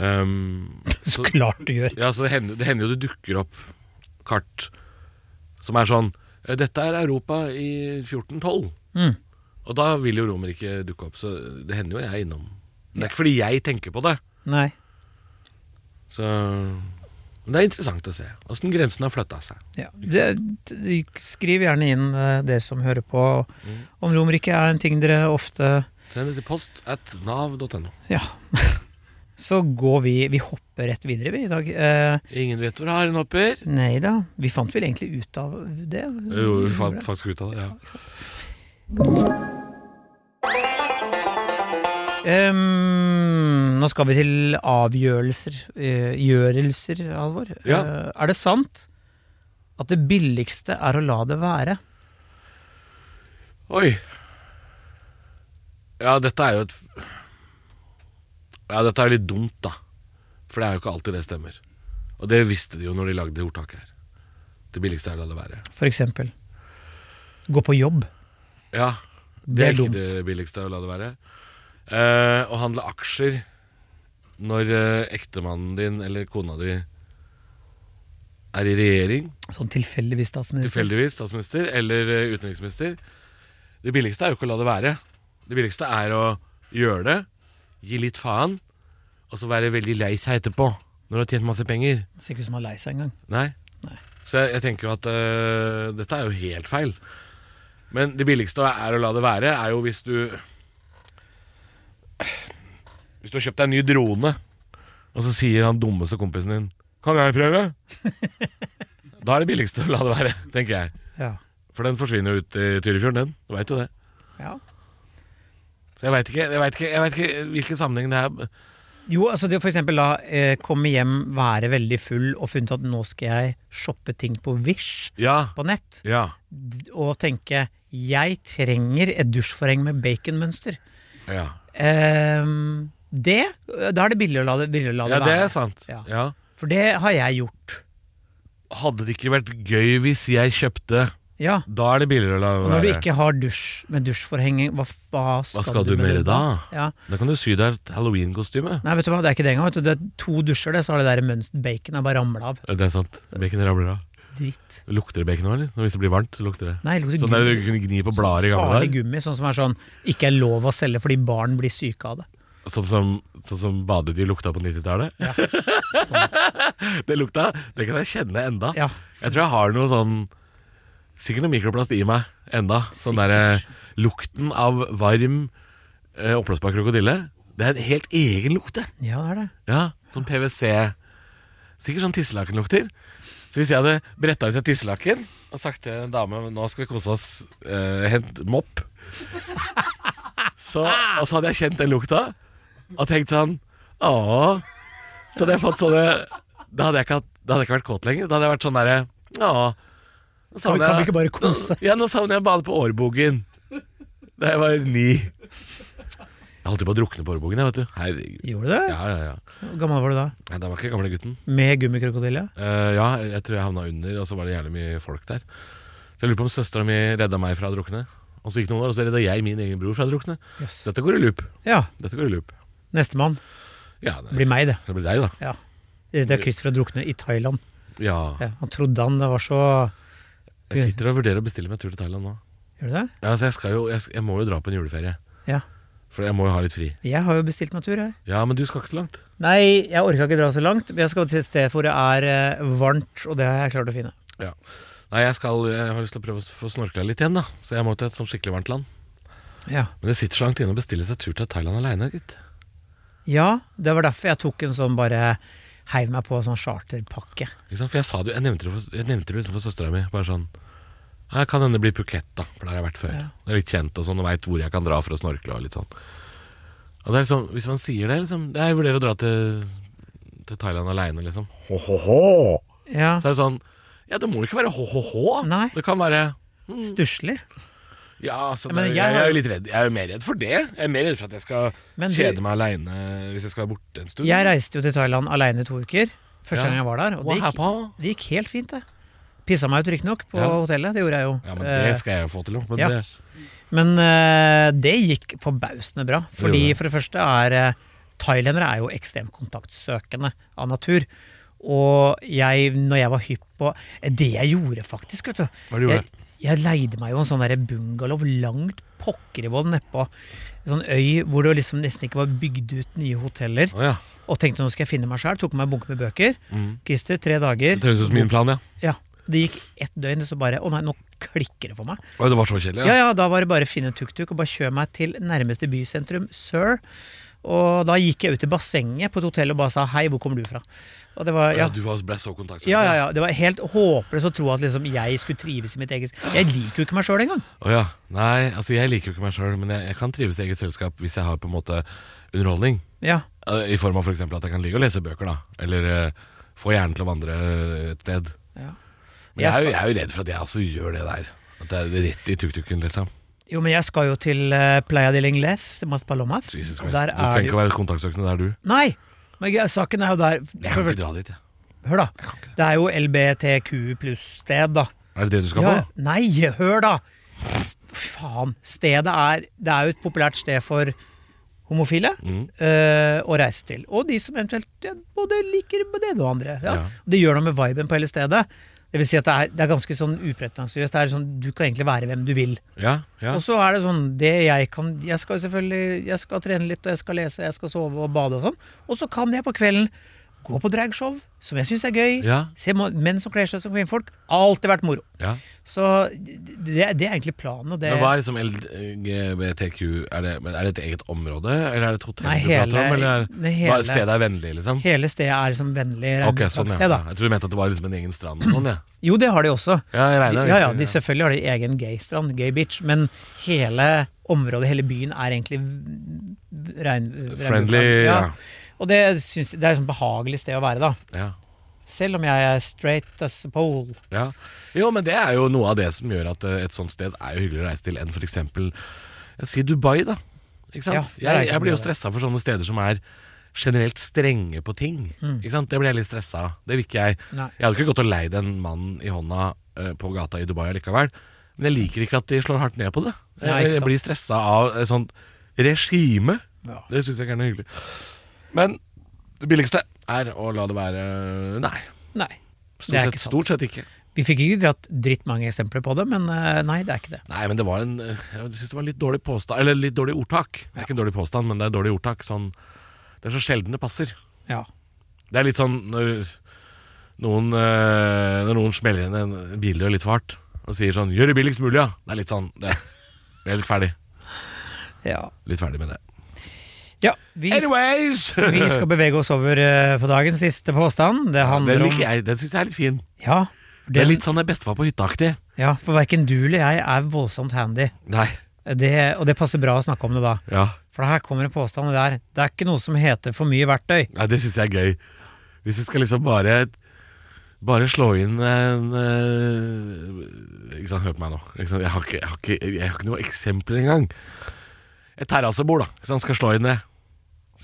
Speaker 3: Um,
Speaker 4: Så klart du gjør.
Speaker 3: ja, så det hender, det hender jo det dukker opp kart som er sånn eh, Dette er Europa i 1412.
Speaker 4: Mm.
Speaker 3: Og da vil jo Romerike dukke opp, så det hender jo jeg er innom. Men det er ikke fordi jeg tenker på det.
Speaker 4: Nei.
Speaker 3: Så men det er interessant å se åssen grensen har flytta seg.
Speaker 4: Ja. Det, d- skriv gjerne inn eh, dere som hører på,
Speaker 3: Mm.
Speaker 4: om Romerike er en ting dere ofte
Speaker 3: Send det til post at nav.no.
Speaker 4: Ja. Så går vi Vi hopper rett videre, vi, i dag. Eh,
Speaker 3: Ingen vet hvor haren hopper.
Speaker 4: nei da. Vi fant vel egentlig ut av det?
Speaker 3: Jo, vi fant faktisk ut av det. Ja.
Speaker 4: Ehm, nå skal vi til avgjørelser. eh, gjørelser, Alvor.
Speaker 3: Ja.
Speaker 4: Eh, er det sant at det billigste er å la det være?
Speaker 3: Oi. Ja, dette er jo et Ja, dette er litt dumt, da. For det er jo ikke alltid det stemmer. Og det visste de jo når de lagde det ordtaket her. Det billigste er å la det være.
Speaker 4: For eksempel gå på jobb.
Speaker 3: Ja, det,
Speaker 4: Det
Speaker 3: er
Speaker 4: er
Speaker 3: ikke
Speaker 4: dumt.
Speaker 3: det billigste å la det være. Eh, å handle aksjer når eh, ektemannen din eller kona di er i regjering,
Speaker 4: Sånn tilfeldigvis, statsminister.
Speaker 3: tilfeldigvis statsminister eller eh, utenriksminister Det billigste er jo ikke å la det være. Det billigste er å gjøre det, gi litt faen, og så være veldig lei seg etterpå når du har tjent masse penger.
Speaker 4: Ser ikke ut som han er lei seg engang.
Speaker 3: Nei.
Speaker 4: Nei.
Speaker 3: Så jeg, jeg tenker jo at øh, dette er jo helt feil. Men det billigste er å la det være, er jo hvis du Hvis du har kjøpt deg en ny drone, og så sier han dummeste kompisen din 'Kan jeg prøve?' da er det billigste å la det være, tenker jeg.
Speaker 4: Ja.
Speaker 3: For den forsvinner jo ut i Tyrifjorden, den. Du veit jo det.
Speaker 4: ja.
Speaker 3: Så jeg veit ikke, jeg vet ikke, jeg vet ikke hvilken sammenheng det er.
Speaker 4: Jo, altså det å for eksempel la eh, komme hjem, være veldig full og funnet at nå skal jeg shoppe ting på Wish
Speaker 3: Ja.
Speaker 4: på nett,
Speaker 3: ja.
Speaker 4: og tenke jeg trenger et dusjforheng med baconmønster.
Speaker 3: Ja,
Speaker 4: Ehm, det, da er det billig å la det, billig å la
Speaker 3: ja
Speaker 4: det
Speaker 3: det
Speaker 4: være.
Speaker 3: er sant.
Speaker 4: Ja.
Speaker 3: Ja.
Speaker 4: For det har jeg gjort.
Speaker 3: Hadde det ikke vært gøy hvis jeg kjøpte
Speaker 4: Ja.
Speaker 3: Da er det billigere å la
Speaker 4: Og
Speaker 3: være.
Speaker 4: når du ikke har dusj med dusjforheng, hva, hva, skal,
Speaker 3: skal du med det da?
Speaker 4: Ja.
Speaker 3: Da kan du sy deg et halloween-kostyme.
Speaker 4: Nei, vet du hva, det er ikke det engang. vet du. Det er to dusjer, det, så har det der mønster baconet bare ramla av.
Speaker 3: Det er sant. Bacon ramler av.
Speaker 4: Dritt.
Speaker 3: Lukter det bacon nå, eller? Når- Hvis det blir varmt, så lukter det.
Speaker 4: Nei, det lukter
Speaker 3: Sånn der du kunne gni på blader i gamle
Speaker 4: Farlig
Speaker 3: dager.
Speaker 4: gummi, sånn som er sånn ikke er lov å selge fordi barn blir syke av det.
Speaker 3: Sånn som, sånn som badedyr lukta på 90-tallet. det lukta Det kan jeg kjenne enda.
Speaker 4: Ja.
Speaker 3: Jeg tror jeg har noe sånn Sikkert noe mikroplast i meg enda. Sånn derre lukten av varm eh, oppblåsbar krokodille. Det er en helt egen lukt, det.
Speaker 4: Ja, det er det.
Speaker 3: Ja, sånn PVC Sikkert sånn tisselakenlukter Så hvis jeg hadde brettet ut et tisselaken Og sagt til en dame Nå skal vi kose oss eh, Hent mopp så, Og så hadde jeg kjent den lukta Og tenkt sånn Åh Så hadde jeg fått sånne Da hadde jeg ikke, hatt, da hadde jeg ikke vært kåt lenger Da hadde jeg vært sånn der Åh nå
Speaker 4: Kan vi,
Speaker 3: savner
Speaker 4: kan vi
Speaker 3: jeg-
Speaker 4: ikke bare kose?
Speaker 3: ja, nå savner jeg å bade på Årbogen. Da jeg var ni. Jeg holdt jo på å drukne på Årbogen, jeg, vet du. Herregud.
Speaker 4: Gjorde du det?
Speaker 3: Ja, ja, ja.
Speaker 4: Hvor gammel var du da?
Speaker 3: Nei, da var ikke gamle gutten.
Speaker 4: Med gummikrokodille?
Speaker 3: Eh, ja, jeg tror jeg havna under, og så var det jævlig mye folk der. Så jeg lurer på om søstera mi redda meg fra å drukne. Og så gikk det noen år, og så redda jeg min egen bror fra å drukne.
Speaker 4: Jøss.
Speaker 3: Så dette går i loop.
Speaker 4: Ja.
Speaker 3: Dette går i loop.
Speaker 4: Nestemann.
Speaker 3: Ja, nei,
Speaker 4: Blir meg, det.
Speaker 3: Det blir deg, da.
Speaker 4: Ja. Det er Christer å drukne i Thailand.
Speaker 3: Ja.
Speaker 4: Ja, han trodde han det var så
Speaker 3: Jeg sitter og vurderer å bestille meg tur til Thailand nå.
Speaker 4: Gjør du det?
Speaker 3: Ja, så jeg, skal jo, jeg, jeg må jo dra på en juleferie.
Speaker 4: Ja.
Speaker 3: For jeg må jo ha litt fri.
Speaker 4: Jeg har jo bestilt meg tur, jeg.
Speaker 3: Ja, men du skal ikke så langt.
Speaker 4: Nei, jeg orka ikke dra så langt, men jeg skal til et sted hvor det er eh, varmt, og det har jeg klart å finne.
Speaker 3: Ja. Nei, jeg, skal, jeg har lyst til å prøve å få snorkla litt igjen, da. Så jeg må til et sånn skikkelig varmt land.
Speaker 4: Ja.
Speaker 3: Men det sitter så langt inne å bestille seg tur til Thailand aleine, gitt.
Speaker 4: ja, det var derfor jeg tok en sånn bare heiv meg på en sånn charterpakke.
Speaker 3: Ikke sant? For jeg sa det, jo- jeg nevnte det, for, jeg nevnte det liksom for søstera mi. Bare sånn «Ja, Jeg kan hende bli Phuket, da, for der har jeg vært før. Det er litt kjent og sånn, og veit hvor jeg kan dra for å snorkle og litt sånn. Og det er liksom, Hvis man sier det, liksom «Ja, Jeg vurderer å dra til, til Thailand aleine, liksom. Ho-ho-ho!
Speaker 4: Ja,
Speaker 3: Så er det sånn Ja, det må jo ikke være ho-ho-ho.
Speaker 4: Nei.
Speaker 3: Det kan være
Speaker 4: Mm. Stusslig.
Speaker 3: Ja, altså,
Speaker 4: Ja, men jeg
Speaker 3: det- jeg,
Speaker 4: har-
Speaker 3: er jo litt redd Jeg er jo mer redd for det. Jeg er mer redd for at jeg skal
Speaker 4: Men du-
Speaker 3: kjede meg aleine hvis jeg skal være borte en stund.
Speaker 4: Jeg reiste jo til Thailand aleine i to uker, første
Speaker 3: Ja.
Speaker 4: gang jeg var der, og
Speaker 3: Hva
Speaker 4: det gikk,
Speaker 3: happa?
Speaker 4: det gikk helt fint, det. Pissa meg ut riktignok på
Speaker 3: Ja.
Speaker 4: hotellet, det gjorde jeg jo.
Speaker 3: Ja, men det
Speaker 4: Eh,
Speaker 3: skal jeg jo få til, jo. Men
Speaker 4: ja.
Speaker 3: det,
Speaker 4: Men eh, det gikk forbausende bra. Fordi
Speaker 3: gjorde det.
Speaker 4: for det første er eh, Thailendere er jo ekstremt kontaktsøkende av natur. Og jeg, når jeg var hypp på eh, Det jeg gjorde, faktisk, vet du
Speaker 3: Hva du gjorde?
Speaker 4: Jeg, Jeg leide meg jo en sånn der bungalow langt pokker i vold nedpå en sånn øy hvor det liksom nesten ikke var bygd ut nye hoteller.
Speaker 3: Å ja.
Speaker 4: Og tenkte nå skal jeg finne meg sjæl. Tok med meg en bunke med bøker.
Speaker 3: Mm.
Speaker 4: Christer, tre dager.
Speaker 3: Det høres ut som min plan, ja.
Speaker 4: Ja, Det gikk ett døgn, og så bare Å nei, nå klikker det for meg.
Speaker 3: Oi, det var så kjedelig.
Speaker 4: Ja, ja, da var det bare å finne en tuk-tuk og bare kjøre meg til nærmeste bysentrum, sir. Og da gikk jeg ut i bassenget på et hotell og bare sa hei, hvor kommer du fra? Og det var,
Speaker 3: Å
Speaker 4: ja,
Speaker 3: ja, Du var- ble så kontaktsøkende.
Speaker 4: ja, ja, ja. Det var helt håpløst å tro at liksom jeg skulle trives i mitt eget Jeg liker jo ikke meg sjøl engang.
Speaker 3: Å ja. Nei, altså jeg liker jo ikke meg sjøl, men jeg, jeg kan trives i eget selskap hvis jeg har på en måte underholdning.
Speaker 4: Ja.
Speaker 3: Eh, I form av f.eks. at jeg kan ligge og lese bøker, da. Eller eh, få hjernen til å vandre eh, et sted.
Speaker 4: Ja.
Speaker 3: Men jeg, er jo, jeg er jo redd for at jeg også gjør det der. At det er rett i tuk-tuken, liksom.
Speaker 4: Jo, men jeg skal jo til eh, Playa de Lengles, til Matpalomas.
Speaker 3: Jesus
Speaker 4: og
Speaker 3: Christ.
Speaker 4: der
Speaker 3: Du
Speaker 4: er
Speaker 3: trenger
Speaker 4: det
Speaker 3: ikke
Speaker 4: jo
Speaker 3: å være kontaktsøkende der, du.
Speaker 4: Nei! Men greia- saken er jo der
Speaker 3: Jeg
Speaker 4: For
Speaker 3: kan
Speaker 4: det
Speaker 3: ikke dra dit, jeg.
Speaker 4: første- Hør, da. Det er jo LBTQ pluss-sted, da.
Speaker 3: Er det det du skal
Speaker 4: Ja,
Speaker 3: på?
Speaker 4: nei, hør, da! S- Faen. Stedet er Det er jo et populært sted for homofile
Speaker 3: Mm.
Speaker 4: eh, å reise til. Og de som eventuelt ja, både liker både det ene og andre. Ja.
Speaker 3: Ja.
Speaker 4: Det gjør noe med viben på hele stedet. Det vil si at det er, det er ganske sånn upretensiøst. Det er sånn, du kan egentlig være hvem du vil.
Speaker 3: Ja, ja.
Speaker 4: Og så er det sånn det jeg, kan, jeg skal jo selvfølgelig Jeg skal trene litt, og jeg skal lese, jeg skal sove og bade og sånn. Og så kan jeg på kvelden gå på dragshow, som jeg syns er gøy.
Speaker 3: Ja.
Speaker 4: Se mo- menn som kler seg som kvinnfolk. Alltid vært moro.
Speaker 3: ja.
Speaker 4: Så det, det er egentlig planen. Og det,
Speaker 3: Men hva er liksom LGBTQ Er det, men er det et eget område, eller er det et hotell
Speaker 4: Nei,
Speaker 3: du
Speaker 4: hele-
Speaker 3: prater om? Eller er,
Speaker 4: nei, hele-
Speaker 3: hva- stedet er vennlig, liksom?
Speaker 4: hele stedet er liksom vennlig
Speaker 3: Ok, sånn,
Speaker 4: regnested,
Speaker 3: ja.
Speaker 4: da.
Speaker 3: Jeg tror du mente at det var liksom en egen strand og sånn, ja.
Speaker 4: Jo, det har de også.
Speaker 3: Ja, jeg regner
Speaker 4: ja, ja,
Speaker 3: egentlig,
Speaker 4: de,
Speaker 3: ja.
Speaker 4: Selvfølgelig har de egen gaystrand, gay beach, men hele området, hele byen, er egentlig v- regn...
Speaker 3: Friendly,
Speaker 4: regnbuefriendly.
Speaker 3: ja.
Speaker 4: Og det, syns, det er et sånn behagelig sted å være, da.
Speaker 3: ja.
Speaker 4: Selv om jeg er straight as a pole.
Speaker 3: ja. Jo, men det er jo noe av det som gjør at eh, et sånt sted er jo hyggelig å reise til enn for eksempel jeg sier Dubai, da. Ikke sant?
Speaker 4: Ja, det er ikke
Speaker 3: jeg,
Speaker 4: så
Speaker 3: jeg blir
Speaker 4: mye
Speaker 3: jo stressa for sånne steder som er generelt strenge på ting. Ikke sant? Det blir jeg litt stressa av. Det vil ikke jeg.
Speaker 4: Mm. Nei.
Speaker 3: Jeg hadde ikke gått og leid en mann i hånda eh, på gata i Dubai allikevel. Men jeg liker ikke at de slår hardt ned på det. Jeg,
Speaker 4: Nei, ikke sant.
Speaker 3: jeg blir stressa av et sånt regime.
Speaker 4: Ja.
Speaker 3: Det syns jeg ikke er noe hyggelig. Men det billigste er å la det være eh, Nei.
Speaker 4: Nei. Det er
Speaker 3: Stort, sett,
Speaker 4: ikke sant.
Speaker 3: stort sett ikke.
Speaker 4: Vi fikk ikke dratt drittmange eksempler på det, men eh, nei, det er ikke det.
Speaker 3: Nei, men det var en eh, Jeg syns det var en litt dårlig påstand Eller litt dårlig ordtak. Det er ikke en dårlig påstand, men det er dårlig ordtak. Sånn, det er så sjelden det passer.
Speaker 4: Ja.
Speaker 3: Det er litt sånn når noen, eh, når noen smeller inn en bildør litt for hardt og sier sånn 'Gjør det billigst mulig', ja. Det er litt sånn det, Vi er litt ferdig.
Speaker 4: Ja.
Speaker 3: Litt ferdig med det.
Speaker 4: vi, sk-
Speaker 3: Anyways!
Speaker 4: vi skal bevege oss over eh, på dagens siste påstand. Det
Speaker 3: Den
Speaker 4: handler om
Speaker 3: liker jeg. Den syns jeg er litt fin.
Speaker 4: Ja, for
Speaker 3: Det er
Speaker 4: den-
Speaker 3: litt sånn det er bestefar på hytta-aktig.
Speaker 4: ja, for verken du eller jeg er voldsomt handy.
Speaker 3: Nei.
Speaker 4: Det, og det passer bra å snakke om det da.
Speaker 3: Ja.
Speaker 4: For her kommer en påstand og det er Det er ikke noe som heter for mye verktøy.
Speaker 3: Nei, det syns jeg er gøy. Hvis du skal liksom bare Bare slå inn en eh, Ikke sant, hør på meg nå. Ikke sant? Jeg, har ikke, jeg, har ikke, jeg har ikke noen eksempler engang. Et terrassebord, da. Ikke sant? Skal slå inn det.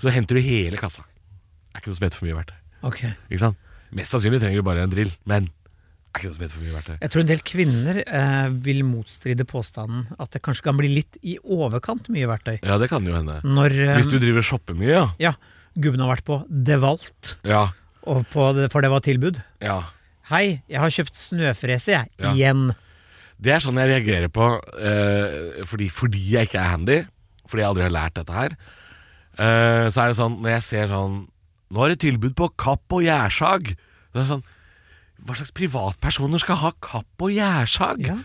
Speaker 3: Så henter du hele kassa. Det er ikke noe som heter for mye verktøy.
Speaker 4: Ok.
Speaker 3: Ikke sant? Mest sannsynlig trenger du bare en drill, men det er ikke noe som heter for mye verktøy.
Speaker 4: Jeg tror en del kvinner eh, vil motstride påstanden at det kanskje kan bli litt i overkant mye verktøy.
Speaker 3: Ja, det kan jo hende.
Speaker 4: Når eh,
Speaker 3: Hvis du driver og shopper mye, ja.
Speaker 4: Ja, gubben har vært på Det Valt,
Speaker 3: Ja.
Speaker 4: og på det, for det var tilbud.
Speaker 3: ja.
Speaker 4: Hei, jeg har kjøpt snøfrese, jeg.
Speaker 3: Ja.
Speaker 4: Igjen.
Speaker 3: Det er sånn jeg reagerer på eh, fordi, fordi jeg ikke er handy, fordi jeg aldri har lært dette her. eh, så er det sånn, når jeg ser sånn Nå er det tilbud på kapp og gjærsag. Så er det sånn Hva slags privatpersoner skal ha kapp og gjærsag?
Speaker 4: Ja.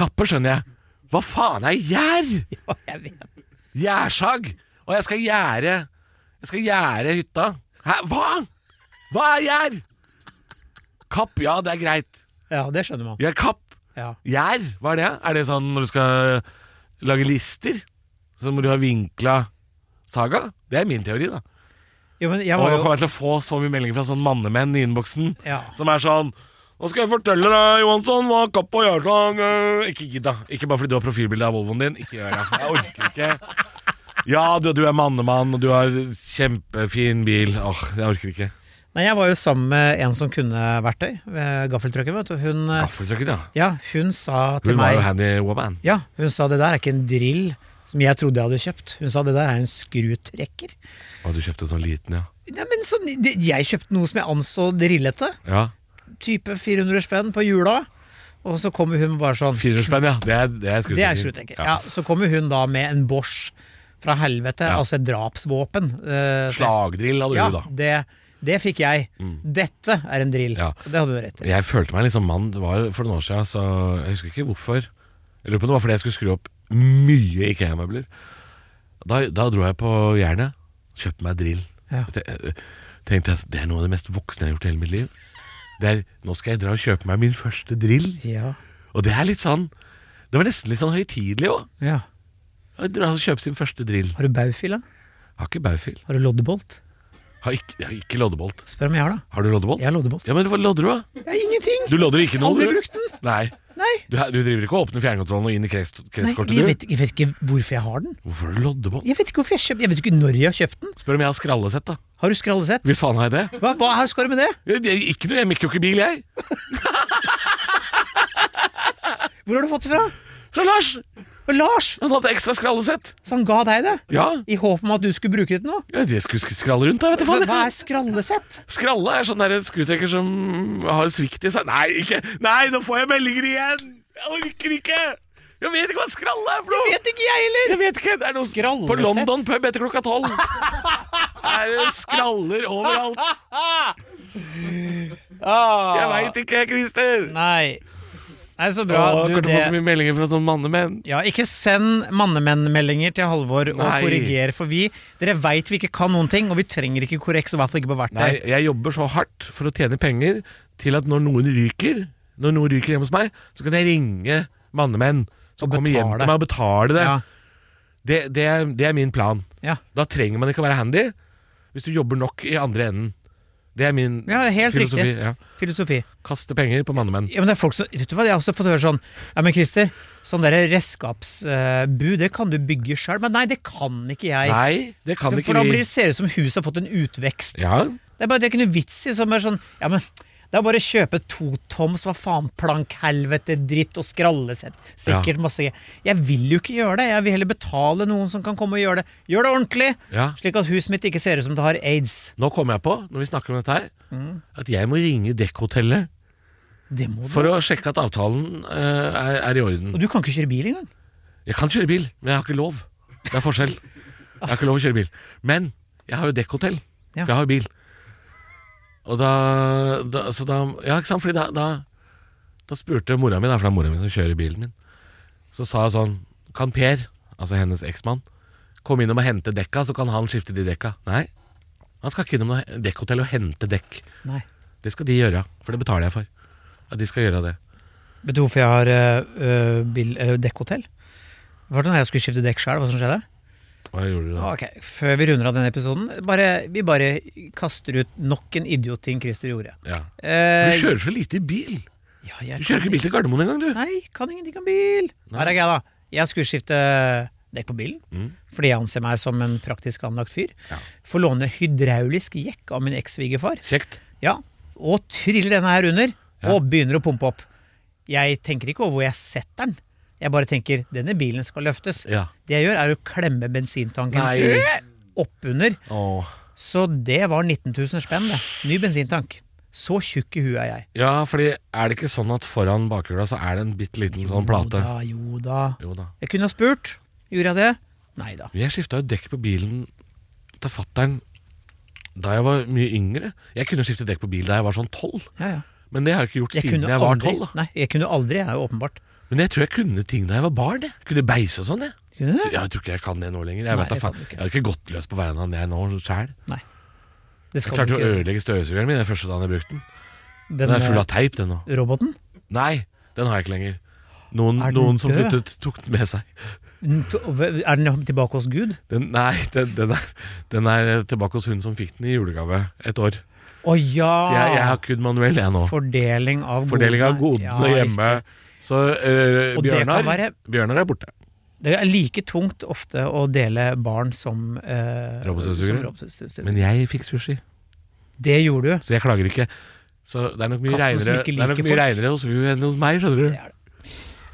Speaker 3: Kapper skjønner jeg. Hva faen er gjær?
Speaker 4: Ja, jeg vet.
Speaker 3: Gjærsag! Og jeg skal gjære Jeg skal gjære hytta. Hæ, hva? Hva er gjær? Kapp, ja, det er greit.
Speaker 4: ja, det skjønner man.
Speaker 3: Ja, kapp.
Speaker 4: Ja.
Speaker 3: Gjær, hva er det? Er det sånn når du skal lage lister? Så må du ha vinkla saga? Det er min teori, da.
Speaker 4: Jo, men jeg
Speaker 3: Og
Speaker 4: var
Speaker 3: nå
Speaker 4: jo
Speaker 3: kommer jeg til å få så mye meldinger fra sånn mannemenn i innboksen
Speaker 4: Ja.
Speaker 3: som er sånn nå skal jeg fortelle deg, Johansson, hva kapp og gjærslag eh, Ikke gidd, da. Ikke bare fordi du har profilbilde av Volvoen din. Ikke gjør det. Jeg orker ikke. Ja, du, du er mannemann, og du har kjempefin bil. Åh, jeg orker ikke.
Speaker 4: Nei, jeg var jo sammen med en som kunne verktøy ved gaffeltrucken, vet du. Hun, eh,
Speaker 3: Gaffeltrucken, Ah, ja.
Speaker 4: ja, hun sa til
Speaker 3: Hun var jo
Speaker 4: meg
Speaker 3: handy woman.
Speaker 4: Ja, hun sa det der er ikke en drill som jeg trodde jeg hadde kjøpt. Hun sa det der er en skrutrekker.
Speaker 3: Og du kjøpte sånn liten, ja.
Speaker 4: Nei, men sånn, det- jeg kjøpte noe som jeg anså drillete.
Speaker 3: Ja,
Speaker 4: Type 400 spenn på jula. Og så kommer hun bare sånn
Speaker 3: Firehjulsspenn, ja. Det er, det er
Speaker 4: Det er
Speaker 3: skrutekker.
Speaker 4: skrutekker. Ja. så kommer hun da med en Bosch fra helvete,
Speaker 3: Ja.
Speaker 4: altså et drapsvåpen. eh,
Speaker 3: Slagdrill hadde
Speaker 4: Ja,
Speaker 3: du, da. Mm.
Speaker 4: det, det fikk jeg. Dette er en drill.
Speaker 3: Ja.
Speaker 4: Og Det hadde du rett i.
Speaker 3: Jeg følte meg litt som mann. Det var for noen år siden, så jeg husker ikke hvorfor. Jeg lurer på om det var fordi jeg skulle skru opp mye IKEA-møbler. Da, da dro jeg på Jernet, kjøpte meg drill.
Speaker 4: Ja.
Speaker 3: Jeg te- eh, Tenkte jeg, Det er noe av det mest voksne jeg har gjort i hele mitt liv. Det er, Nå skal jeg dra og kjøpe meg min første drill.
Speaker 4: Ja.
Speaker 3: Og det er litt sånn Det var nesten litt sånn høytidelig òg.
Speaker 4: ja.
Speaker 3: Dra og kjøpe sin første drill.
Speaker 4: Har du baufil, da?
Speaker 3: Har ikke baufil.
Speaker 4: Har du loddebolt?
Speaker 3: Har ikke, jeg har ikke loddebolt.
Speaker 4: Spør om jeg har det.
Speaker 3: Har du loddebolt?
Speaker 4: Jeg har loddebolt.
Speaker 3: Ja, men hva lodder du, da?
Speaker 4: Jeg har ingenting!
Speaker 3: Du lodder ikke noe?
Speaker 4: Aldri
Speaker 3: du?
Speaker 4: brukt den.
Speaker 3: Nei.
Speaker 4: Nei.
Speaker 3: Du, du driver ikke og åpner fjernkontrollen og inn i krets-
Speaker 4: Nei,
Speaker 3: kretskortet,
Speaker 4: jeg,
Speaker 3: du?
Speaker 4: vet, jeg vet ikke hvorfor jeg har den.
Speaker 3: Hvorfor har du loddebånd?
Speaker 4: Jeg vet ikke hvorfor jeg kjøpt, jeg vet ikke når jeg har kjøpt den.
Speaker 3: Spør om jeg har skrallesett, da.
Speaker 4: Har du skrallesett?
Speaker 3: Hvis faen har jeg det?
Speaker 4: Hva, hva skal du med det?
Speaker 3: Jeg, jeg, ikke noe, jeg mekker jo ikke bil, jeg.
Speaker 4: Hvor har du fått det fra?
Speaker 3: Fra Lars!
Speaker 4: Og Lars!
Speaker 3: Han hadde ekstra skrallesett.
Speaker 4: Så han ga deg det?
Speaker 3: Ja.
Speaker 4: I håp om at du skulle bruke det til noe?
Speaker 3: ja jeg skulle sk- skralle rundt, da, vet du
Speaker 4: Hva,
Speaker 3: faen.
Speaker 4: hva er skrallesett?
Speaker 3: Skralle er sånn der skrutrekker som har svikt i seg. Nei, ikke Nei, nå får jeg meldinger igjen! Jeg orker ikke! Jeg vet ikke hva skralle er for noe!
Speaker 4: Vet ikke jeg heller!
Speaker 3: Jeg vet ikke, det er noe
Speaker 4: Skrallesett.
Speaker 3: På London pub etter klokka tolv Er det skraller overalt Jeg vet ikke, Christer
Speaker 4: Ah, Nei. Nei, så bra.
Speaker 3: Åh,
Speaker 4: Du,
Speaker 3: kan du få
Speaker 4: det-
Speaker 3: så mye meldinger fra sånne mannemenn
Speaker 4: Ja, ikke send mannemenn-meldinger til Halvor og
Speaker 3: Nei.
Speaker 4: korriger, for vi Dere veit vi ikke kan noen ting, og vi trenger ikke korreks, og i hvert fall ikke på
Speaker 3: Nei,
Speaker 4: verktøy.
Speaker 3: jeg jobber så hardt for å tjene penger Til at når noen ryker Når noen ryker hjemme hos meg Så kan jeg ringe mannemenn Som
Speaker 4: Og
Speaker 3: kommer hjem
Speaker 4: betale.
Speaker 3: til meg og betale det
Speaker 4: Ja,
Speaker 3: det, det, er, det er min plan
Speaker 4: ja.
Speaker 3: Da trenger man ikke å være handy Hvis du jobber nok i andre enden Det er min
Speaker 4: Ja, helt riktig.
Speaker 3: filosofi ja.
Speaker 4: Filosofi.
Speaker 3: Kaste penger på mannemenn
Speaker 4: Ja, men det er folk som Vet du hva, jeg har også fått høre sånn Ja, men Christer, sånn derre redskapsbu, det kan du bygge sjøl. Men nei, det kan ikke jeg.
Speaker 3: Nei, det kan
Speaker 4: Så-
Speaker 3: ikke
Speaker 4: for da
Speaker 3: vi.
Speaker 4: blir det ser ut som huset har fått en utvekst.
Speaker 3: Ja,
Speaker 4: Det er bare det er ikke noe vits i. Som er sånn Ja, men det er bare å kjøpe totoms, hva faen, plankhelvete, dritt og skrallesett. Sikkert masse Jeg vil jo ikke gjøre det. Jeg vil heller betale noen som kan komme og gjøre det. Gjør det ordentlig!
Speaker 3: Ja.
Speaker 4: Slik at huset mitt ikke ser ut som det har aids.
Speaker 3: nå kom jeg på, når vi snakker om dette her,
Speaker 4: Mm.
Speaker 3: at jeg må ringe dekkhotellet
Speaker 4: Det må du.
Speaker 3: for å sjekke at avtalen eh, er, er i orden.
Speaker 4: Og du kan ikke kjøre bil engang.
Speaker 3: Jeg kan kjøre bil, men jeg har ikke lov. Det er forskjell. Jeg har ikke lov å kjøre bil. Men jeg har jo dekkhotell,
Speaker 4: Ja.
Speaker 3: for jeg har jo bil. Og da, da, så da Ja, ikke sant, fordi da, da, da spurte mora mi, da, for det er mora mi som kjører bilen min, så sa jeg sånn Kan Per, altså hennes eksmann, komme innom og hente dekka, så kan han skifte de dekka? Nei. Han skal ikke innom noe he- dekkhotell og hente dekk.
Speaker 4: Nei.
Speaker 3: Det skal de gjøre, for det betaler jeg for. Ja, de skal gjøre det.
Speaker 4: Vet du hvorfor jeg har øh, øh, bil, eller dekkhotell? Var det da jeg skulle skifte dekk sjøl? Hva som skjedde?
Speaker 3: Hva gjorde du da?
Speaker 4: Ok, Før vi runder av denne episoden, bare, vi bare kaster ut nok en idiotting Christer gjorde.
Speaker 3: Ja.
Speaker 4: Eh,
Speaker 3: Du kjører så lite bil.
Speaker 4: ja, jeg
Speaker 3: Du kjører ikke bil til Gardermoen engang, du.
Speaker 4: Nei, kan ingenting om bil. Her er greia, da. Jeg skulle skifte dekk på bilen,
Speaker 3: Mm.
Speaker 4: fordi jeg anser meg som en praktisk anlagt fyr. Får låne hydraulisk jekk av min eks-svigerfar.
Speaker 3: Kjekt.
Speaker 4: Ja. Og triller denne her under, og begynner å pumpe opp. Jeg tenker ikke over hvor jeg setter den. Jeg bare tenker denne bilen skal løftes.
Speaker 3: Ja.
Speaker 4: Det jeg gjør, er å klemme bensintanken Øh,
Speaker 3: Nei.
Speaker 4: oppunder.
Speaker 3: Åh.
Speaker 4: Så det var 19 000 spenn, det. Ny bensintank. Så tjukk i huet er jeg.
Speaker 3: Ja, fordi er det ikke sånn at foran bakhjula så er det en bitte liten sånn
Speaker 4: Jo
Speaker 3: plate?
Speaker 4: da, jo da.
Speaker 3: Jo da.
Speaker 4: Jeg kunne ha spurt. Gjorde jeg det? Nei da.
Speaker 3: Jeg skifta jo dekk på bilen til fattern da jeg var mye yngre. Jeg kunne skifte dekk på bil da jeg var sånn tolv,
Speaker 4: Ja, ja.
Speaker 3: men det har jeg ikke gjort siden
Speaker 4: kunne
Speaker 3: jeg var
Speaker 4: aldri-
Speaker 3: tolv. da.
Speaker 4: Nei, jeg kunne aldri, jeg er jo åpenbart.
Speaker 3: Men jeg tror jeg kunne ting da jeg var barn. Jeg kunne beise og sånn, jeg.
Speaker 4: Kunne du
Speaker 3: Så
Speaker 4: det?
Speaker 3: Jeg tror ikke jeg kan det nå lenger. Jeg,
Speaker 4: Nei,
Speaker 3: vet da
Speaker 4: det kan
Speaker 3: faen.
Speaker 4: du ikke.
Speaker 3: jeg har ikke gått løs på verandaen jeg nå sjæl.
Speaker 4: Det
Speaker 3: Jeg
Speaker 4: skal du
Speaker 3: klarte
Speaker 4: ikke
Speaker 3: å
Speaker 4: gjøre.
Speaker 3: ødelegge støvsugeren min den første dagen jeg brukte den.
Speaker 4: Den,
Speaker 3: Den er full
Speaker 4: eh,
Speaker 3: av teip, den nå.
Speaker 4: roboten?
Speaker 3: Nei, den har jeg ikke lenger. Noen,
Speaker 4: Er den
Speaker 3: noen som
Speaker 4: død?
Speaker 3: flyttet, tok den med seg.
Speaker 4: Mm, to- Er den tilbake hos Gud?
Speaker 3: Den, nei, den, den, er, den er tilbake hos hun som fikk den i julegave et år.
Speaker 4: Å
Speaker 3: Så jeg, jeg
Speaker 4: ja!
Speaker 3: har kun manuell, jeg nå.
Speaker 4: Fordeling av godene.
Speaker 3: Fordeling av godene hjemme.
Speaker 4: riktig.
Speaker 3: Så øh,
Speaker 4: Og det kan
Speaker 3: Bjørnar,
Speaker 4: være-
Speaker 3: Bjørnar er borte.
Speaker 4: Det er like tungt ofte å dele barn som eh,
Speaker 3: Robotstøvsugere.
Speaker 4: som robotstøvsugere.
Speaker 3: Men jeg fikk sushi,
Speaker 4: det gjorde du.
Speaker 3: så jeg klager ikke. Så det er nok mye
Speaker 4: Katten som
Speaker 3: reinere,
Speaker 4: ikke
Speaker 3: det er nok
Speaker 4: liker
Speaker 3: mye
Speaker 4: folk.
Speaker 3: reinere hos Vu enn hos meg, skjønner du.
Speaker 4: Det er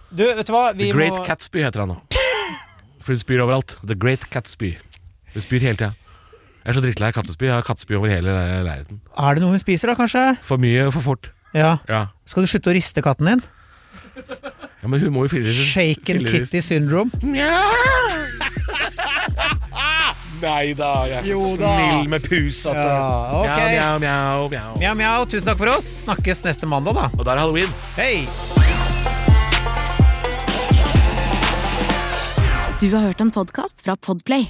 Speaker 4: Du, vet du hva? Vi
Speaker 3: The Great
Speaker 4: må...
Speaker 3: Catsby heter han nå. For hun spyr overalt. The Great Catsby. Hun spyr hele tida. Jeg er så drittlei av kattespy. Jeg har kattespy over hele le- leiligheten.
Speaker 4: Er det noe hun spiser, da, kanskje?
Speaker 3: For mye og for fort.
Speaker 4: Ja.
Speaker 3: Ja.
Speaker 4: Skal du slutte å riste katten din?
Speaker 3: Ja, men hun må jo filleres.
Speaker 4: Shaken
Speaker 3: filleres-
Speaker 4: Kitty syndrome.
Speaker 3: Nja. Nei da, jeg er
Speaker 4: Jo
Speaker 3: så
Speaker 4: da.
Speaker 3: snill med pusa. til-
Speaker 4: Ja, ok.
Speaker 3: Mjau, mjau, mjau, mjau.
Speaker 4: Mjau, mjau. Tusen takk for oss. Snakkes neste mandag, da.
Speaker 3: Og da er det halloween.
Speaker 4: Hei!
Speaker 2: Du har hørt en podcast fra Podplay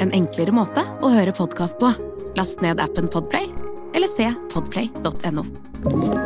Speaker 2: En enklere måte å høre podcast på Last ned appen Podplay Eller se podplay.no